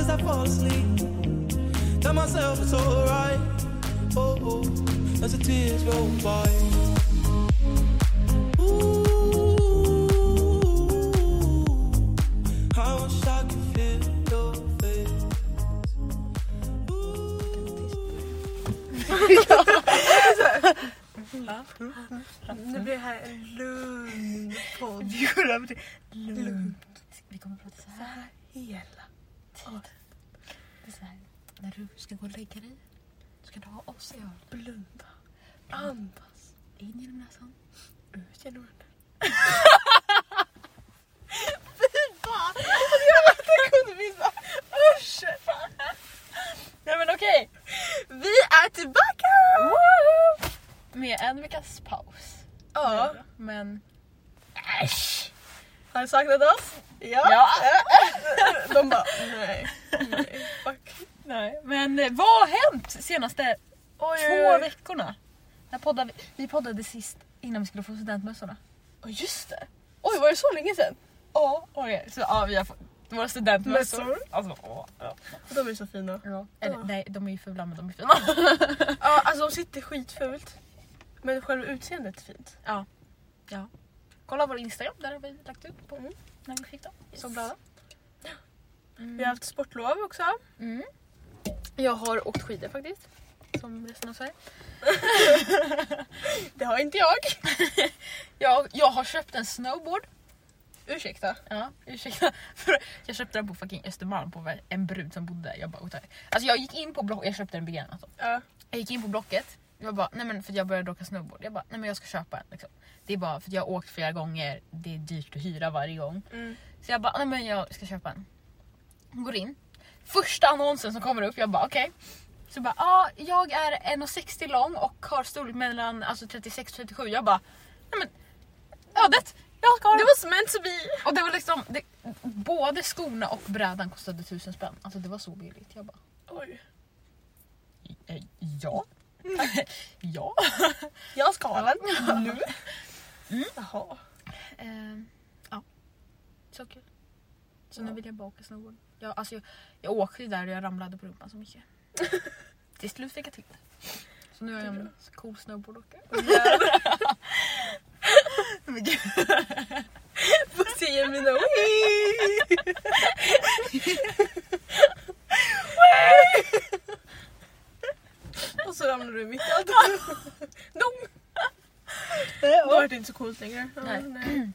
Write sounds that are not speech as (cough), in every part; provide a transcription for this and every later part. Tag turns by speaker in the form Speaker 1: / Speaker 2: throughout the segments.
Speaker 1: I fall asleep. Tell myself it's alright. Oh, oh, as the tears roll by. Ooh, I wish I could feel your face.
Speaker 2: Nu blir det här en lugn podd.
Speaker 3: Vi går över till
Speaker 2: Lugnt.
Speaker 3: Vi kommer prata så här
Speaker 2: Hela.
Speaker 3: tiden. Det är så här, när du ska gå och lägga dig ska du ha oss i öronen.
Speaker 2: Blunda. Andas.
Speaker 3: In genom näsan.
Speaker 2: Ut genom munnen. Alltså,
Speaker 3: Nej men okej!
Speaker 2: Vi är tillbaka!
Speaker 3: Med en veckas paus.
Speaker 2: Ja.
Speaker 3: Men
Speaker 2: Har du saknat oss?
Speaker 3: ja.
Speaker 2: De bara nej. nej. Fuck.
Speaker 3: Nej. Men eh, vad har hänt senaste
Speaker 2: Oj,
Speaker 3: två veckorna? När poddade, vi- vi poddade sist innan vi skulle få studentmössorna.
Speaker 2: Oh, just det. Oj var det så länge sedan?
Speaker 3: Ja, okej. Så ja, vi har fått våra studentmössor.
Speaker 2: Mössor.
Speaker 3: Alltså, åh, ja.
Speaker 2: De är så fina.
Speaker 3: Ja. Eller,
Speaker 2: Ja.
Speaker 3: Nej, de är ju fula men de är fina. (laughs)
Speaker 2: Ja alltså de sitter skitfult. Men själva utseendet är fint.
Speaker 3: Kolla vår Instagram, där har vi lagt ut på
Speaker 2: Mm.
Speaker 3: när vi fick dem.
Speaker 2: Så
Speaker 3: Yes.
Speaker 2: glada.
Speaker 3: Mm.
Speaker 2: Vi har haft sportlov också.
Speaker 3: Mm.
Speaker 2: Jag har åkt skidor faktiskt.
Speaker 3: Som resten av Sverige.
Speaker 2: (laughs) Det har inte jag.
Speaker 3: (laughs) Jag, jag har köpt en snowboard.
Speaker 2: Ursäkta.
Speaker 3: Ja, ursäkta. (laughs) För jag köpte den på fucking Östermalm på en brud som bodde där. Jag bara, "Oj, tack." alltså jag gick in på blocket, jag köpte den begagnat. Alltså.
Speaker 2: Ja.
Speaker 3: Jag gick in på blocket, jag bara, nej men för jag började åka snowboard. Jag bara, nej men jag ska köpa en. Liksom. Det är bara för att jag har åkt flera gånger, det är dyrt att hyra varje gång.
Speaker 2: Mm.
Speaker 3: Så jag bara, nej men jag ska köpa en. Går in. Första annonsen som kommer upp, jag bara okej. Så bara, ja jag är 1,60 lång och har storlek mellan alltså 36 och 37. Jag bara, nej men ödet, jag ska ha
Speaker 2: Det
Speaker 3: den.
Speaker 2: var meant to be.
Speaker 3: Och det var liksom, det, både skorna och brädan kostade tusen spänn. Alltså det var så billigt. Jag bara,
Speaker 2: Oj.
Speaker 3: eh, ja.
Speaker 2: Mm.
Speaker 3: (laughs) ja.
Speaker 2: Jag ska ha den. Nu. Jaha.
Speaker 3: (laughs) Ehm, ja. Så kul. Så
Speaker 2: Ja.
Speaker 3: nu vill jag bara åka snowboard. Jag, alltså, jag, jag åkte ju där och jag ramlade på rumpan så (laughs) mycket. Till slut fick jag till det. Så nu är jag en cool (laughs) snowboardåkare. Men gud,
Speaker 2: Vad säger mina Wee! Och så ramlar du i mitt allt. (laughs) Dong! Då var det inte så coolt längre. Ja,
Speaker 3: Nej.
Speaker 2: nej.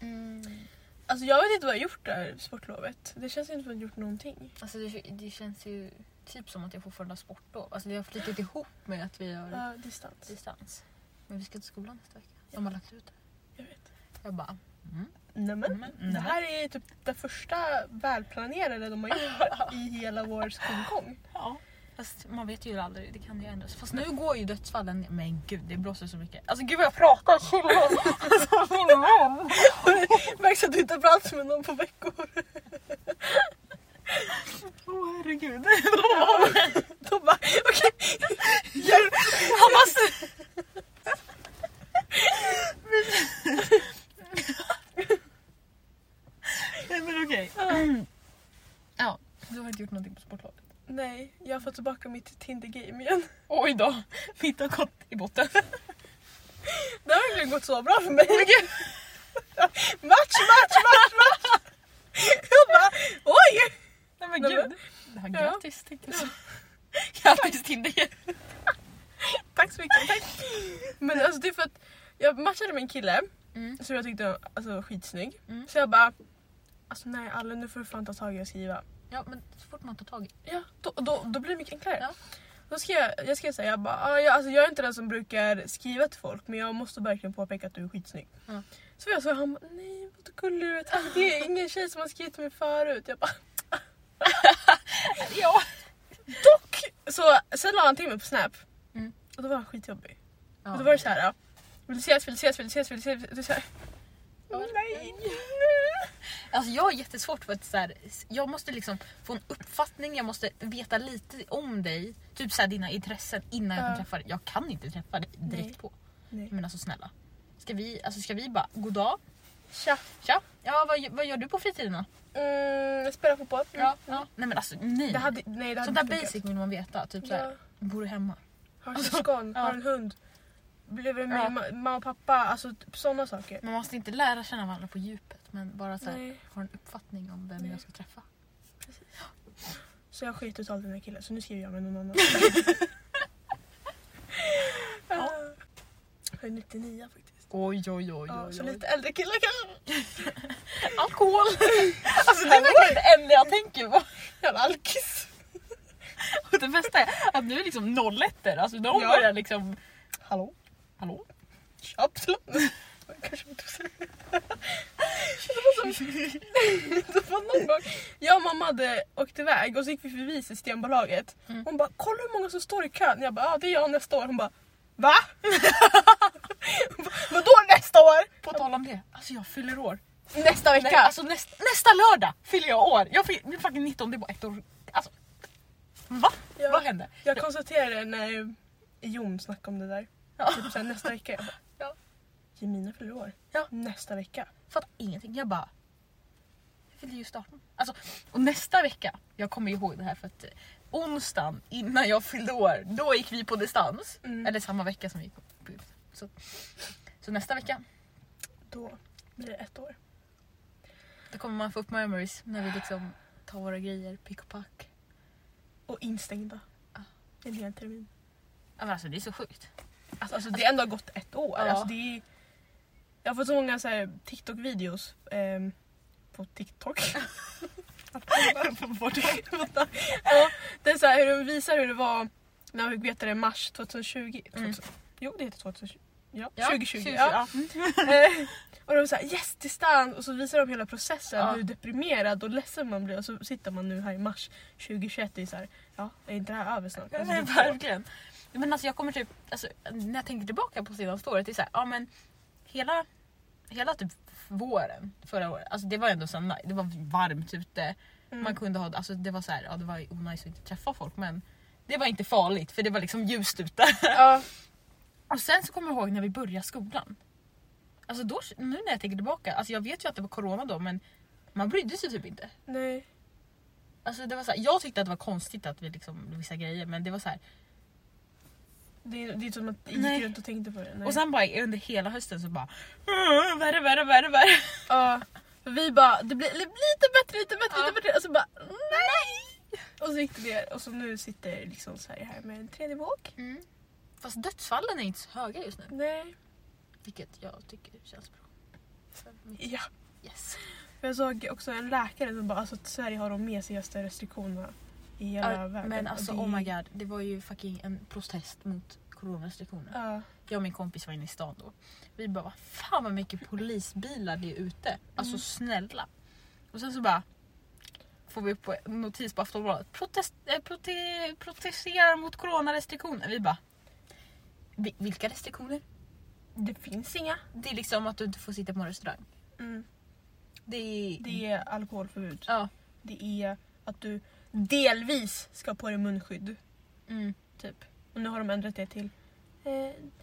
Speaker 3: Mm,
Speaker 2: Alltså jag vet inte vad jag gjort det här sportlovet. Det känns inte som att jag gjort någonting.
Speaker 3: Alltså det, det känns ju typ som att jag fortfarande har sportlov. Alltså det har flutit ihop med att vi har
Speaker 2: Ja, distans.
Speaker 3: distans. Men vi ska till skolan nästa vecka. De har lagt ut det.
Speaker 2: Jag vet.
Speaker 3: Jag bara... Mm.
Speaker 2: Nämen.
Speaker 3: Mm, mm.
Speaker 2: Det här är typ det första välplanerade de har (laughs) gjort i hela vår skolgång.
Speaker 3: Ja. Fast man vet ju aldrig, det kan ju ändras. Fast nu går ju dödsfallen ner. Men gud det blåser så mycket. Alltså gud vad jag pratar, (laughs) chilla. Alltså min vän.
Speaker 2: Märks att du inte har pratat med någon på veckor.
Speaker 3: Åh herregud.
Speaker 2: De bara okej.
Speaker 3: Han måste... Nej men okej. Ja, du har inte gjort någonting på sportlovet.
Speaker 2: Nej, jag har fått tillbaka mitt Tinder-game igen.
Speaker 3: Oj då, mitt har gått i botten.
Speaker 2: Det har verkligen gått så bra för mig. match, match, match, match! Jag bara oj!
Speaker 3: Nej men
Speaker 2: Nej, men-
Speaker 3: gud. Det här,
Speaker 2: Ja.
Speaker 3: grattis tänkte jag (laughs) säga. Grattis Tinder.
Speaker 2: Tack så mycket. Tack. Men alltså det är för att jag matchade med en kille
Speaker 3: Mm.
Speaker 2: som jag tyckte var alltså, skitsnygg.
Speaker 3: Mm.
Speaker 2: Så jag bara alltså nej alla nu får du fan ta tag i och skriva.
Speaker 3: Ja men så fort man tar tag i.
Speaker 2: Ja, då, då, då blir det mycket enklare.
Speaker 3: Ja.
Speaker 2: Då skrev jag, jag skrev såhär, jag, bara, ah, jag, alltså, jag är inte den som brukar skriva till folk men jag måste verkligen påpeka att du är skitsnygg.
Speaker 3: Ja.
Speaker 2: Så jag så han bara, nej vad gullig du är, tack. det är ingen tjej som har skrivit till mig förut. Jag bara,
Speaker 3: Ja.
Speaker 2: dock! Så sen la han till mig på snap
Speaker 3: Mm.
Speaker 2: och då var han skitjobbig.
Speaker 3: ja.
Speaker 2: Och då var det såhär, vill du ses, vill du ses, vill du ses, vill du ses? Vill du ses? Åh nej!
Speaker 3: Alltså jag har jättesvårt för att så här, jag måste liksom få en uppfattning, jag måste veta lite om dig, typ så här, dina intressen innan jag
Speaker 2: Ja.
Speaker 3: kan träffa dig. Jag kan inte träffa dig direkt
Speaker 2: Nej.
Speaker 3: på.
Speaker 2: Nej.
Speaker 3: Men alltså snälla. Ska vi, alltså, ska vi bara, god dag,
Speaker 2: Tja!
Speaker 3: tja, ja, vad, vad gör du på fritiden då?
Speaker 2: Mm, spela fotboll. Mm.
Speaker 3: Ja, ja. Nej men alltså nej.
Speaker 2: Det hade, nej, det hade
Speaker 3: Sånt där
Speaker 2: inte funkat.
Speaker 3: basic vill man veta. Typ såhär,
Speaker 2: Ja.
Speaker 3: bor du hemma?
Speaker 2: Har du syskon?
Speaker 3: Ja.
Speaker 2: Har du en hund? Blev du med
Speaker 3: Ja.
Speaker 2: ma- mamma och pappa? Alltså typ sådana saker.
Speaker 3: Man måste inte lära känna varandra på djupet men bara såhär,
Speaker 2: Nej.
Speaker 3: ha en uppfattning om vem
Speaker 2: Nej.
Speaker 3: jag ska träffa.
Speaker 2: Så jag sket totalt i den här killen så nu skriver jag med någon annan.
Speaker 3: (laughs) Ja.
Speaker 2: Jag är 99 faktiskt.
Speaker 3: Oj oj oj
Speaker 2: Ja, så lite äldre killar kanske. (laughs)
Speaker 3: Alkohol! alltså det är verkligen det enda jag tänker på.
Speaker 2: Jävla alkis.
Speaker 3: Och (laughs) det bästa är att nu är liksom nolletter, alltså de
Speaker 2: Ja.
Speaker 3: börjar liksom...
Speaker 2: Hallå?
Speaker 3: Hallå? (laughs)
Speaker 2: Absolut. Kanske inte säga. Det var som... Det var någon gång. Jag och mamma hade åkt iväg och så gick vi förbi Systembolaget.
Speaker 3: Mm.
Speaker 2: Hon bara “kolla hur många som står i kön”. Jag bara “ja det är jag nästa år”. Hon bara “va?” Hon bara, “Vadå nästa år?”
Speaker 3: På tal om det, alltså jag fyller år.
Speaker 2: Nästa
Speaker 3: Nej, alltså näst, nästa lördag fyller jag år! Jag fyller, blir fucking 19, det är bara ett år. Alltså, va?
Speaker 2: Ja.
Speaker 3: Vad hände?
Speaker 2: Jag konstaterade när eh, Jon snackade om det där.
Speaker 3: Ja. (laughs)
Speaker 2: Typ såhär, nästa vecka. Jag bara,
Speaker 3: Ja.
Speaker 2: Jemina fyller år.
Speaker 3: Ja.
Speaker 2: Nästa vecka.
Speaker 3: fattar ingenting. Jag bara... Jag fyllde just 18. Alltså, och nästa vecka, jag kommer ihåg det här för att eh, onsdagen innan jag fyllde år, då gick vi på distans.
Speaker 2: Mm.
Speaker 3: Eller samma vecka som vi gick på på- så, så nästa vecka,
Speaker 2: Då blir det ett år.
Speaker 3: då kommer man få upp memories när vi liksom tar våra grejer, pick och pack.
Speaker 2: Och instängda.
Speaker 3: Ja.
Speaker 2: En hel termin.
Speaker 3: Ja, men Alltså det är så
Speaker 2: (laughs)
Speaker 3: sjukt.
Speaker 2: Alltså, alltså det ändå har gått ett år.
Speaker 3: Ja.
Speaker 2: Alltså, det är, jag har fått så många så här, TikTok-videos ehm, på TikTok.
Speaker 3: (laughs)
Speaker 2: Vänta. ja, det är så här, hur de visar hur det var när vi fick veta det i mars 2020. 2000,
Speaker 3: Mm.
Speaker 2: Jo det heter 2020. Ja,
Speaker 3: Ja,
Speaker 2: 2020.
Speaker 3: 20,
Speaker 2: ja.
Speaker 3: ja.
Speaker 2: Eh, och de såhär yes distans och så visar de hela processen
Speaker 3: Ja.
Speaker 2: hur deprimerad och ledsen man blir och så sitter man nu här i mars 2021 och är såhär ja är inte det här över snart? Alltså,
Speaker 3: Nej,
Speaker 2: det är
Speaker 3: verkligen. Men alltså jag kommer typ, alltså, när jag tänker tillbaka på senaste året, det är såhär, ja men hela, hela typ våren förra året, alltså det var ändå så nice, det var varmt ute,
Speaker 2: Mm.
Speaker 3: man kunde ha, alltså det var så här, ja det var onajs att inte träffa folk men det var inte farligt för det var liksom ljust ute.
Speaker 2: ja,
Speaker 3: Och sen så kommer jag ihåg när vi började skolan. Alltså då, nu när jag tänker tillbaka, alltså jag vet ju att det var corona då men man brydde sig typ inte.
Speaker 2: nej.
Speaker 3: Alltså det var så här, jag tyckte att det var konstigt att vi liksom, vissa grejer men det var så här,
Speaker 2: Det, är- det är som att jag
Speaker 3: Nej.
Speaker 2: gick runt och tänkte på det. Nej.
Speaker 3: Och sen bara under hela hösten så bara "Mm, värre, värre, värre, värre.
Speaker 2: ja, för vi bara det blir li- lite bättre, lite bättre,
Speaker 3: Ja.
Speaker 2: lite bättre och så bara nej! Och så gick det ner och så nu sitter liksom Sverige här med en tredje våg.
Speaker 3: Mm. Fast dödsfallen är inte så höga just nu.
Speaker 2: Nej.
Speaker 3: Vilket jag tycker känns bra. Så, mitt-
Speaker 2: Ja.
Speaker 3: Yes.
Speaker 2: För jag såg också en läkare som bara alltså att Sverige har de mesigaste restriktionerna i hela
Speaker 3: Ja,
Speaker 2: världen.
Speaker 3: Men
Speaker 2: och
Speaker 3: alltså
Speaker 2: det är-
Speaker 3: oh my god, det var ju fucking en protest mot coronarestriktioner.
Speaker 2: Ja.
Speaker 3: Jag och min kompis var inne i stan då. Vi bara "Vad fan vad mycket polisbilar det är ute. Alltså snälla. Och sen så bara får vi upp på en notis på Aftonbladet. Protest, eh, prote, protesterar mot coronarestriktioner. Vi bara "Vi- vilka restriktioner?
Speaker 2: Det finns inga.
Speaker 3: Det är liksom att du inte får sitta på en restaurang. Det är...
Speaker 2: Det är alkoholförbud.
Speaker 3: Mm. Ja.
Speaker 2: Det är att du delvis ska ha på dig munskydd.
Speaker 3: Mm.
Speaker 2: Typ. Och nu har de ändrat det till eh, det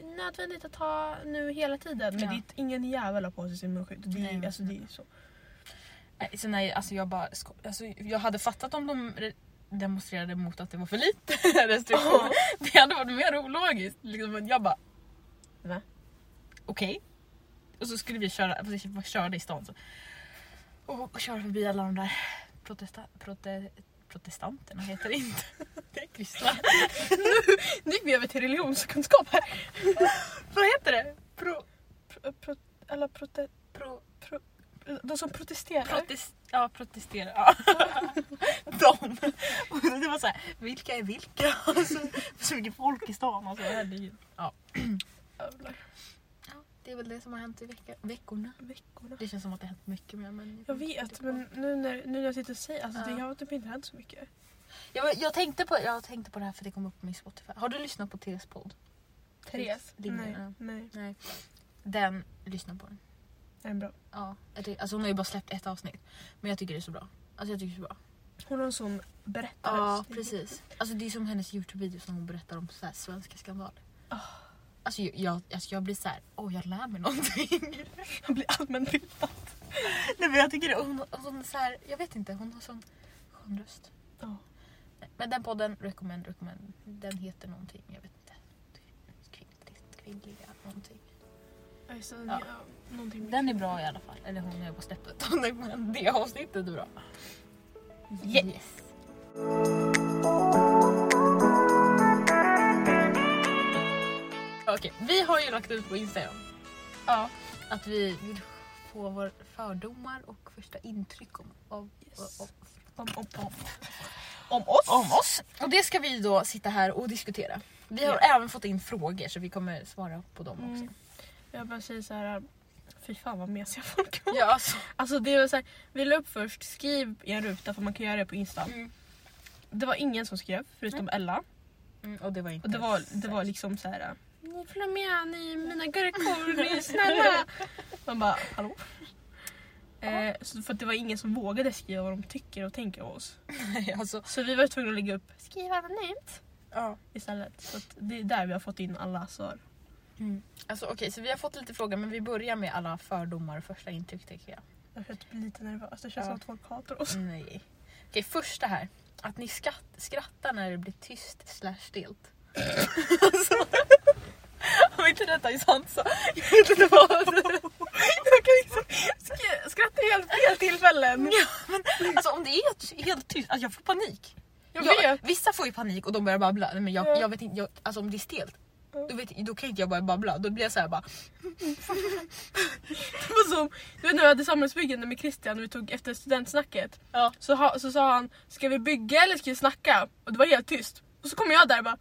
Speaker 2: är nödvändigt att ha nu hela tiden. Men
Speaker 3: Ja.
Speaker 2: det är ingen jävel har på sig sin munskydd. Det är,
Speaker 3: Nej.
Speaker 2: alltså, det är så.
Speaker 3: Nej, Så nej, alltså jag bara... sko- Alltså jag hade fattat om de re- demonstrerade mot att det var för lite (laughs) restriktioner. Det hade varit mer ologiskt. Liksom, men jag bara...
Speaker 2: Va?
Speaker 3: Okej. Och så skulle vi köra, fast vi körde i stan så. Och, och köra förbi alla de där protesta, prote, protestanterna heter det inte. (laughs) Det är kristna.
Speaker 2: Nu gick vi över till religionskunskap här.
Speaker 3: Vad heter det? Pro...
Speaker 2: Pro, pro, alla prote,
Speaker 3: pro
Speaker 2: de som protesterar.
Speaker 3: Protest, ja, protestera. Ja. (laughs) De. Och det var så här, vilka är vilka? (laughs) Alltså, så mycket folk i stan. Alltså, herregud. Ja.
Speaker 2: Jävlar.
Speaker 3: det är väl det som har hänt i vecka, veckorna.
Speaker 2: Veckorna.
Speaker 3: Det känns som att det har hänt mycket Typ. mer. Men
Speaker 2: Jag vet men nu när, nu när jag sitter och säger alltså
Speaker 3: Ja.
Speaker 2: det har typ inte hänt så mycket.
Speaker 3: jag, jag, tänkte på, jag tänkte på det här för det kom upp på min Spotify. Har du lyssnat på Therese podd? Therese
Speaker 2: Nej,
Speaker 3: Lindgren.
Speaker 2: nej.
Speaker 3: Nej. Den, lyssna på den.
Speaker 2: Den är bra.
Speaker 3: Ja, jag tycker, alltså hon har ju bara släppt ett avsnitt. Men jag tycker det är så bra. Alltså jag tycker det är så bra.
Speaker 2: Hon har en sån berättare.
Speaker 3: Ja, precis. Alltså det är som hennes Youtube-videos när hon berättar om så här svenska skandaler.
Speaker 2: Ah.
Speaker 3: Alltså jag, jag, alltså jag blir så här, åh jag lär mig någonting. (laughs)
Speaker 2: Jag blir allmänbildad.
Speaker 3: Nej men jag tycker det, och hon, och hon är så här, jag vet inte, hon har sån skön röst.
Speaker 2: Ja.
Speaker 3: Nej, Men den podden, recommend, recommend, den heter någonting, jag vet inte. Kvinnligt, kvinnliga någonting.
Speaker 2: Alltså,
Speaker 3: Ja.
Speaker 2: ja. någonting.
Speaker 3: Den är bra i alla fall, eller hon är på snäppet. (laughs) Nej, men Det avsnittet är bra. Yes! Okej, vi har ju lagt ut på Instagram
Speaker 2: Ja.
Speaker 3: att vi vill få våra fördomar och första intryck om, av,
Speaker 2: Yes.
Speaker 3: av,
Speaker 2: Om, om, om.
Speaker 3: om oss. om oss. Och det ska vi då sitta här och diskutera. Vi har även fått in frågor så vi kommer svara på dem
Speaker 2: Mm.
Speaker 3: också.
Speaker 2: Jag bara säger så här. Fy fan vad mesiga folk var.
Speaker 3: Ja, alltså.
Speaker 2: Alltså det var så här, vi la upp först, skriv i en ruta för man kan göra det på Insta.
Speaker 3: Mm.
Speaker 2: Det var ingen som skrev förutom Ella.
Speaker 3: Mm, och det var inte
Speaker 2: Och det var, det var liksom så här. Ni följer med, ni är mina gurkor, ni
Speaker 3: (laughs)
Speaker 2: är snälla. Man bara, hallå? Eh, så för att det var ingen som vågade skriva vad de tycker och tänker om oss.
Speaker 3: Nej, alltså.
Speaker 2: Så vi var tvungna att lägga upp skriv anonymt
Speaker 3: Ja.
Speaker 2: istället. Så att det är där vi har fått in alla svar.
Speaker 3: Mm. Alltså okej, så vi har fått lite frågor men vi börjar med alla fördomar och första intryck tycker jag.
Speaker 2: Jag känner typ lite nervös, det känns
Speaker 3: Ja.
Speaker 2: som att folk hatar oss.
Speaker 3: Nej. Okej, första här. Att ni skatt, skrattar när det blir tyst slash stelt. alltså, om inte detta är sant så jag vet inte vad. jag kan liksom
Speaker 2: Skrattar helt fel tillfällen!
Speaker 3: Ja, men, alltså om det är helt- helt tyst, alltså, jag får panik.
Speaker 2: Jag
Speaker 3: Ja,
Speaker 2: vet!
Speaker 3: vissa får ju panik och de börjar babbla. Nej, Men jag,
Speaker 2: Ja.
Speaker 3: jag vet inte, jag, alltså om det är stelt,
Speaker 2: Ja.
Speaker 3: då, vet, då kan inte jag börja babbla. Då blir jag så här bara...
Speaker 2: Det var som, du vet när vi hade samhällsbyggande med Christian och vi tog efter studentsnacket.
Speaker 3: Ja.
Speaker 2: Så, ha, så sa han, ska vi bygga eller ska vi snacka? Och det var helt tyst. Och så kom jag där och bara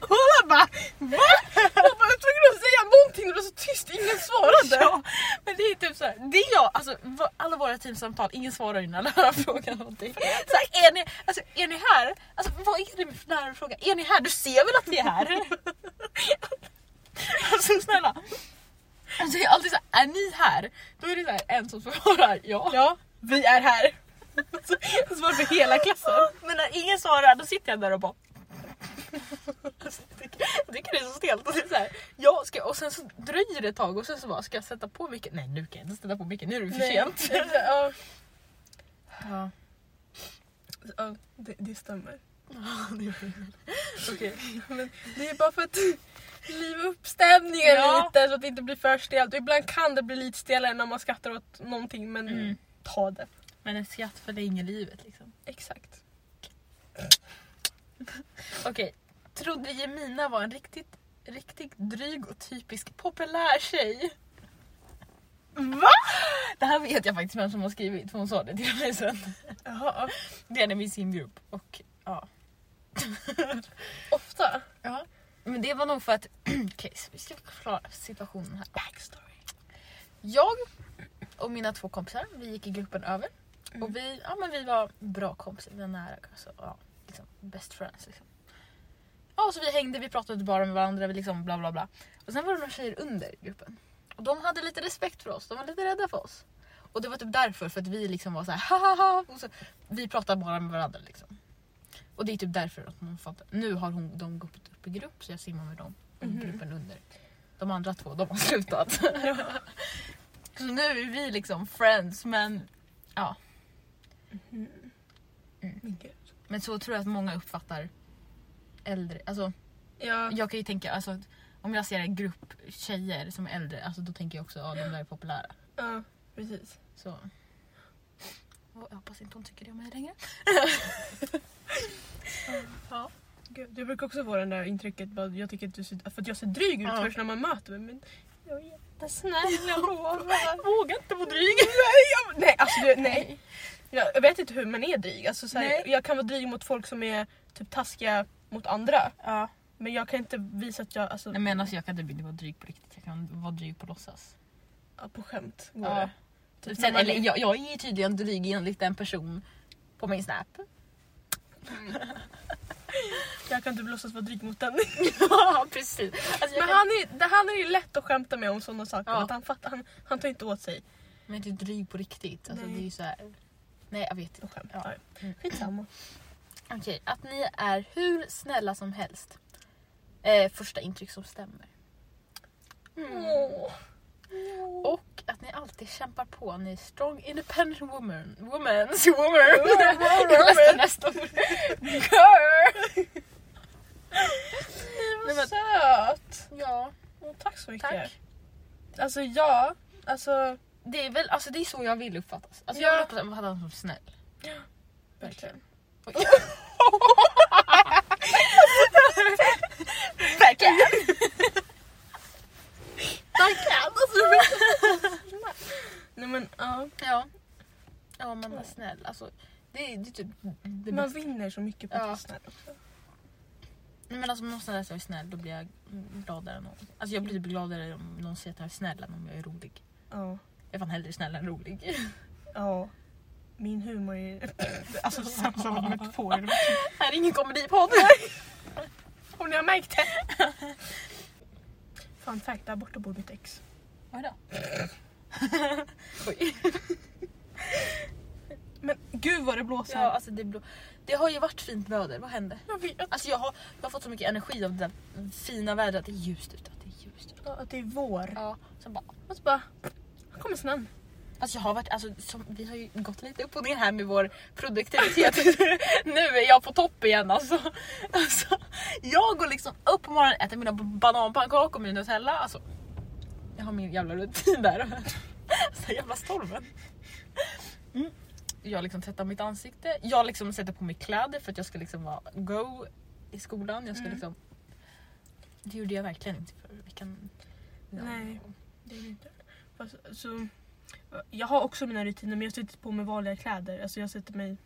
Speaker 2: Och alla bara va? Och bara, jag var tvungen att säga någonting och det var så tyst, ingen svarade.
Speaker 3: Ja, men det är typ så här, det är jag, alltså va- alla våra teamsamtal, ingen svarar ju när läraren (laughs) frågar någonting. Så här, är, ni, alltså, är ni här? Alltså vad är det för lärare frågar? Är ni här? Du ser väl att vi är här? (laughs) alltså snälla. Alltså, det är alltid så här, är ni här? Då är det så här, en som svarar ja.
Speaker 2: Ja, vi är
Speaker 3: (laughs)
Speaker 2: här. Så jag svarade för hela klassen.
Speaker 3: Men när ingen svarar då sitter jag där och bara... Alltså, jag tycker- jag tycker det är så stelt. Och, det är så här, ja, ska, jag- och sen så dröjer det ett tag och sen så bara, ska jag sätta på micken? Nej nu kan jag inte sätta på micken, nu är det för sent.
Speaker 2: Nej, (laughs) ja,
Speaker 3: (laughs) Ja.
Speaker 2: ja, det, det stämmer.
Speaker 3: Okej.
Speaker 2: Men det är bara för att (laughs) liva upp stämningen
Speaker 3: Ja.
Speaker 2: lite så att det inte blir för stelt. Och ibland kan det bli lite stelare när man skrattar åt någonting men
Speaker 3: Mm.
Speaker 2: ta det.
Speaker 3: Men ett skratt förlänger livet liksom.
Speaker 2: Exakt.
Speaker 3: Okej. Trodde Jemina var en riktigt, riktigt dryg och typisk populär tjej.
Speaker 2: Va?
Speaker 3: Det här vet jag faktiskt vem som har skrivit för hon sa det till mig sen.
Speaker 2: Jaha.
Speaker 3: Det är min simgrupp och ja.
Speaker 2: (laughs) Ofta.
Speaker 3: ja. Men det var nog för att... (clears throat) Okej, så vi ska förklara situationen här.
Speaker 2: Backstory.
Speaker 3: Jag och mina två kompisar, vi gick i gruppen över. Och vi, ja, men vi var bra kompisar, vi var nära. Alltså, ja, liksom, best friends. Liksom. Ja, och så vi hängde, vi pratade bara med varandra, vi liksom bla bla bla. Och sen var det några tjejer under i gruppen. Och de hade lite respekt för oss, de var lite rädda för oss. Och det var typ därför, för att vi liksom var så här (laughs) ha ha ha. Och så, vi pratade bara med varandra liksom. Och det är typ därför att man fattar. Nu har hon, de gått upp i grupp så jag simmar med dem. Och
Speaker 2: Mhm.
Speaker 3: Gruppen under. De andra två, de har (laughs) slutat. så nu är vi liksom friends men
Speaker 2: Mm. Min gud.
Speaker 3: Men så tror jag att många uppfattar äldre. Alltså,
Speaker 2: Ja.
Speaker 3: jag kan ju tänka, alltså, att om jag ser en grupp tjejer som är äldre, alltså, då tänker jag också att ja, de där är populära.
Speaker 2: ja, precis.
Speaker 3: Så. Och Jag hoppas inte hon tycker det om mig längre. ja.
Speaker 2: Gud, jag brukar också få den där intrycket bara, jag tycker att du ser, för att jag ser dryg ut
Speaker 3: Ja.
Speaker 2: först när man möter mig. Men jag är
Speaker 3: (laughs)
Speaker 2: jättesnäll och lovar.
Speaker 3: Våga inte vara dryg.
Speaker 2: (laughs) Nej, alltså du, nej. Jag, jag vet inte hur man är dryg. Alltså, så
Speaker 3: Nej.
Speaker 2: här, jag kan vara dryg mot folk som är typ taskiga mot andra.
Speaker 3: Ja.
Speaker 2: Men jag kan inte visa att jag, alltså
Speaker 3: Nej, men alltså, jag kan typ inte vara dryg på riktigt, jag kan vara dryg på låtsas.
Speaker 2: ja, på skämt går
Speaker 3: Ja.
Speaker 2: det. Typ
Speaker 3: Sen,
Speaker 2: när man-
Speaker 3: eller, jag, jag är ju tydligen dryg enligt en person på min snap.
Speaker 2: Jag kan typ låtsas vara dryg mot den.
Speaker 3: (laughs) Ja precis. Alltså,
Speaker 2: (laughs) Men
Speaker 3: jag
Speaker 2: han är, det, han är ju lätt att skämta med om sådana saker.
Speaker 3: Ja.
Speaker 2: Att han, fattar, han, han tar inte åt sig
Speaker 3: Men jag är inte dryg på riktigt. Alltså,
Speaker 2: Nej.
Speaker 3: det är ju så här. Nej jag vet
Speaker 2: och skämtar.
Speaker 3: Ja. Mm.
Speaker 2: Skitsamma.
Speaker 3: Okej, att ni är hur snälla som
Speaker 2: Mm.
Speaker 3: helst. Eh, första intryck som stämmer.
Speaker 2: Åh.
Speaker 3: Och att ni alltid kämpar på, ni är strong independent woman. (laughs) Womans, woman. Nästan, nästan. Girl!
Speaker 2: Nej,
Speaker 3: Nej, men-
Speaker 2: vad söt!
Speaker 3: Ja,
Speaker 2: Åh, Mm, tack så mycket.
Speaker 3: tack.
Speaker 2: Alltså ja, alltså
Speaker 3: Det är väl, alltså det är så jag vill uppfattas. Alltså
Speaker 2: Ja.
Speaker 3: jag vill uppfattas som snäll.
Speaker 2: verkligen. (laughs)
Speaker 3: Verkligen!
Speaker 2: Verkligen! Alltså, jag vet. Nej men ja,
Speaker 3: Ja. Ja man var snäll. Alltså, det, är- det är typ det
Speaker 2: man
Speaker 3: bästa.
Speaker 2: vinner så mycket på att
Speaker 3: Ja.
Speaker 2: vara snäll. också.
Speaker 3: Nej, Men alltså måste jag läsa jag är snäll då blir jag gladare än någon. Alltså jag blir typ gladare om någon säger att jag är snäll än om jag är rolig.
Speaker 2: Ja.
Speaker 3: Jag är fan hellre snäll än rolig. (laughs)
Speaker 2: Ja. Min humor är (laughs) alltså sämst jag har kommit på. i det här.
Speaker 3: Här är ingen komedipodd.
Speaker 2: Om ni har märkt det. Fun fact, där borta bor mitt ex.
Speaker 3: Vad då? Oj.
Speaker 2: Men gud vad det blåser.
Speaker 3: Ja, alltså det, blå... det har ju varit fint väder, vad hände?
Speaker 2: Jag vet
Speaker 3: Alltså jag har, jag har fått så mycket energi av det där fina vädret. Det är ljust ute, det är ljust ute.
Speaker 2: att det är vår.
Speaker 3: Ja, sen bara...
Speaker 2: Och så bara, här kommer snön.
Speaker 3: Alltså jag har varit, alltså, som, vi har ju gått lite upp och ner här med vår produktivitet. (laughs) nu är jag på topp igen alltså. alltså. Jag går liksom upp på morgonen, äter mina b- bananpannkakor med Nutella. Alltså, jag har min jävla rutin där. (laughs) alltså, jävla stormen. Mm. Jag liksom tvättar mitt ansikte. Jag liksom sätter på mig kläder för att jag ska liksom vara go i skolan. Jag ska
Speaker 2: Mm.
Speaker 3: liksom... Det gjorde jag verkligen inte förra veckan.
Speaker 2: Nej. Det är det inte. Fast, så, jag har också mina rutiner men jag sätter på mig vanliga kläder. Alltså jag sätter mig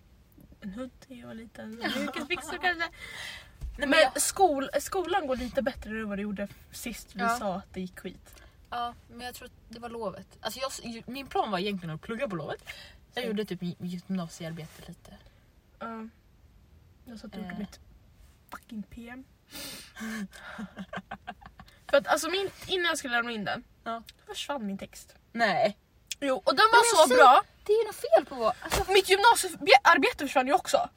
Speaker 2: en hoodie och en liten
Speaker 3: (laughs)
Speaker 2: mjukisbyxor kanske.
Speaker 3: Nej, men
Speaker 2: Men
Speaker 3: jag,
Speaker 2: skol, skolan går lite bättre nu än vad det gjorde sist vi
Speaker 3: Ja.
Speaker 2: sa att det gick skit.
Speaker 3: Ja, men jag tror att det var lovet. Alltså jag, min plan var egentligen att plugga på lovet. Jag
Speaker 2: Så.
Speaker 3: gjorde typ gym- gymnasiearbete lite.
Speaker 2: Ja. jag satt och gjorde
Speaker 3: Eh.
Speaker 2: mitt fucking PM. (laughs) För att alltså min, innan jag skulle lämna in den
Speaker 3: Ja.
Speaker 2: försvann min text.
Speaker 3: Nej.
Speaker 2: Jo, och den
Speaker 3: men
Speaker 2: var
Speaker 3: jag
Speaker 2: så
Speaker 3: ser-
Speaker 2: bra.
Speaker 3: Det är något fel på vår... Alltså,
Speaker 2: Mitt gymnasiearbete försvann ju också.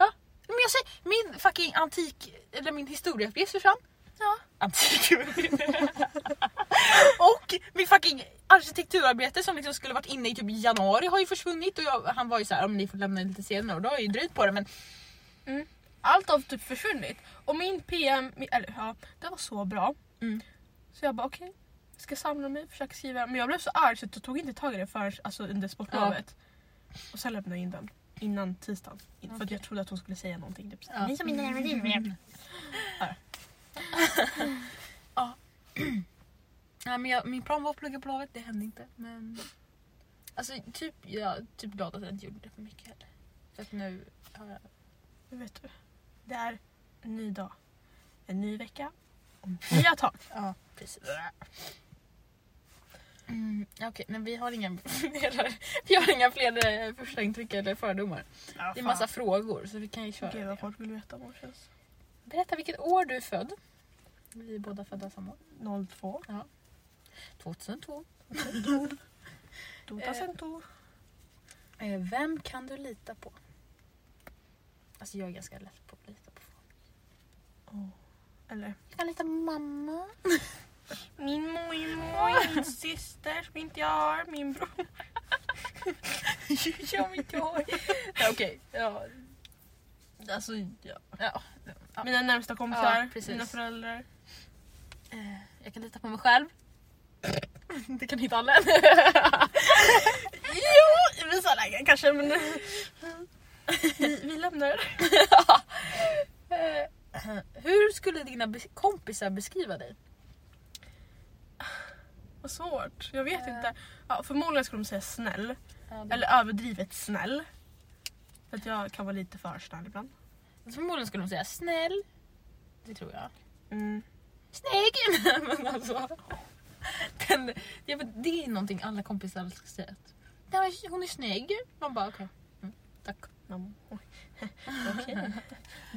Speaker 3: men jag säger, min fucking antik... Eller min historieuppgift försvann.
Speaker 2: Ja.
Speaker 3: Antik... (laughs) och min fucking arkitekturarbete som liksom skulle varit inne i typ januari har ju försvunnit. Och jag, han var ju så här, om ni får lämna in lite senare. Och då har jag ju dröjt på det men...
Speaker 2: Allt har typ försvunnit. Och min PM, min- eller ja, det var så bra.
Speaker 3: Mm.
Speaker 2: Så jag bara okej, jag ska samla mig, försöka skriva. Men jag blev så arg så jag tog inte tag i det förrän alltså, under sportlovet. Och sen lämnade jag in den. Innan tisdagen. In- För att jag trodde att hon skulle säga någonting. Typ.
Speaker 3: Ja.
Speaker 2: Ja. Ni som inte lämnade in det."
Speaker 3: Nej men jag, min plan var att plugga på lovet, det hände inte. Men... Alltså typ, jag är typ glad att jag inte gjorde det för mycket heller. För att nu har jag...
Speaker 2: Men vet du, det är en ny dag. En ny vecka. Nya tag.
Speaker 3: Ja, precis. Mm, Okej, men vi har inga fler, vi har inga fler eh, första intryck eller fördomar. Det är massa frågor så vi kan ju köra.
Speaker 2: Gud
Speaker 3: det.
Speaker 2: vad folk vill veta om vår tjänst.
Speaker 3: Berätta vilket år du är född. Vi är båda födda samma år.
Speaker 2: 02.
Speaker 3: 2002.
Speaker 2: Då tar centor.
Speaker 3: Eh, vem kan du lita på? Alltså jag är ganska lätt på att lita på folk.
Speaker 2: Eller?
Speaker 3: Jag kan lita på mamma.
Speaker 2: Min mormor, min syster som inte jag har, min bror.
Speaker 3: (laughs) jag vill inte ha. Okej, ja.
Speaker 2: Alltså, ja.
Speaker 3: ja.
Speaker 2: Mina närmsta kompisar,
Speaker 3: Ja, precis.
Speaker 2: mina föräldrar.
Speaker 3: Eh, Jag kan lita på mig själv. Det kan inte alla. (laughs)
Speaker 2: Jo, i vissa lägen kanske men... vi, vi lämnar det.
Speaker 3: Eh, Hur skulle dina be- kompisar beskriva dig?
Speaker 2: Vad svårt, jag vet
Speaker 3: Eh.
Speaker 2: inte. Ja, förmodligen skulle de säga snäll,
Speaker 3: Mm.
Speaker 2: eller överdrivet snäll. För att jag kan vara lite för snäll ibland.
Speaker 3: Förmodligen skulle de säga snäll. Det tror jag.
Speaker 2: Mm.
Speaker 3: Snygg! (laughs) Men alltså. Den, jag vet, det är någonting alla kompisar ska säga. att, "Nej, men Hon är snygg. Man bara okej. Mm, tack.
Speaker 2: Mm. Oj. Okej.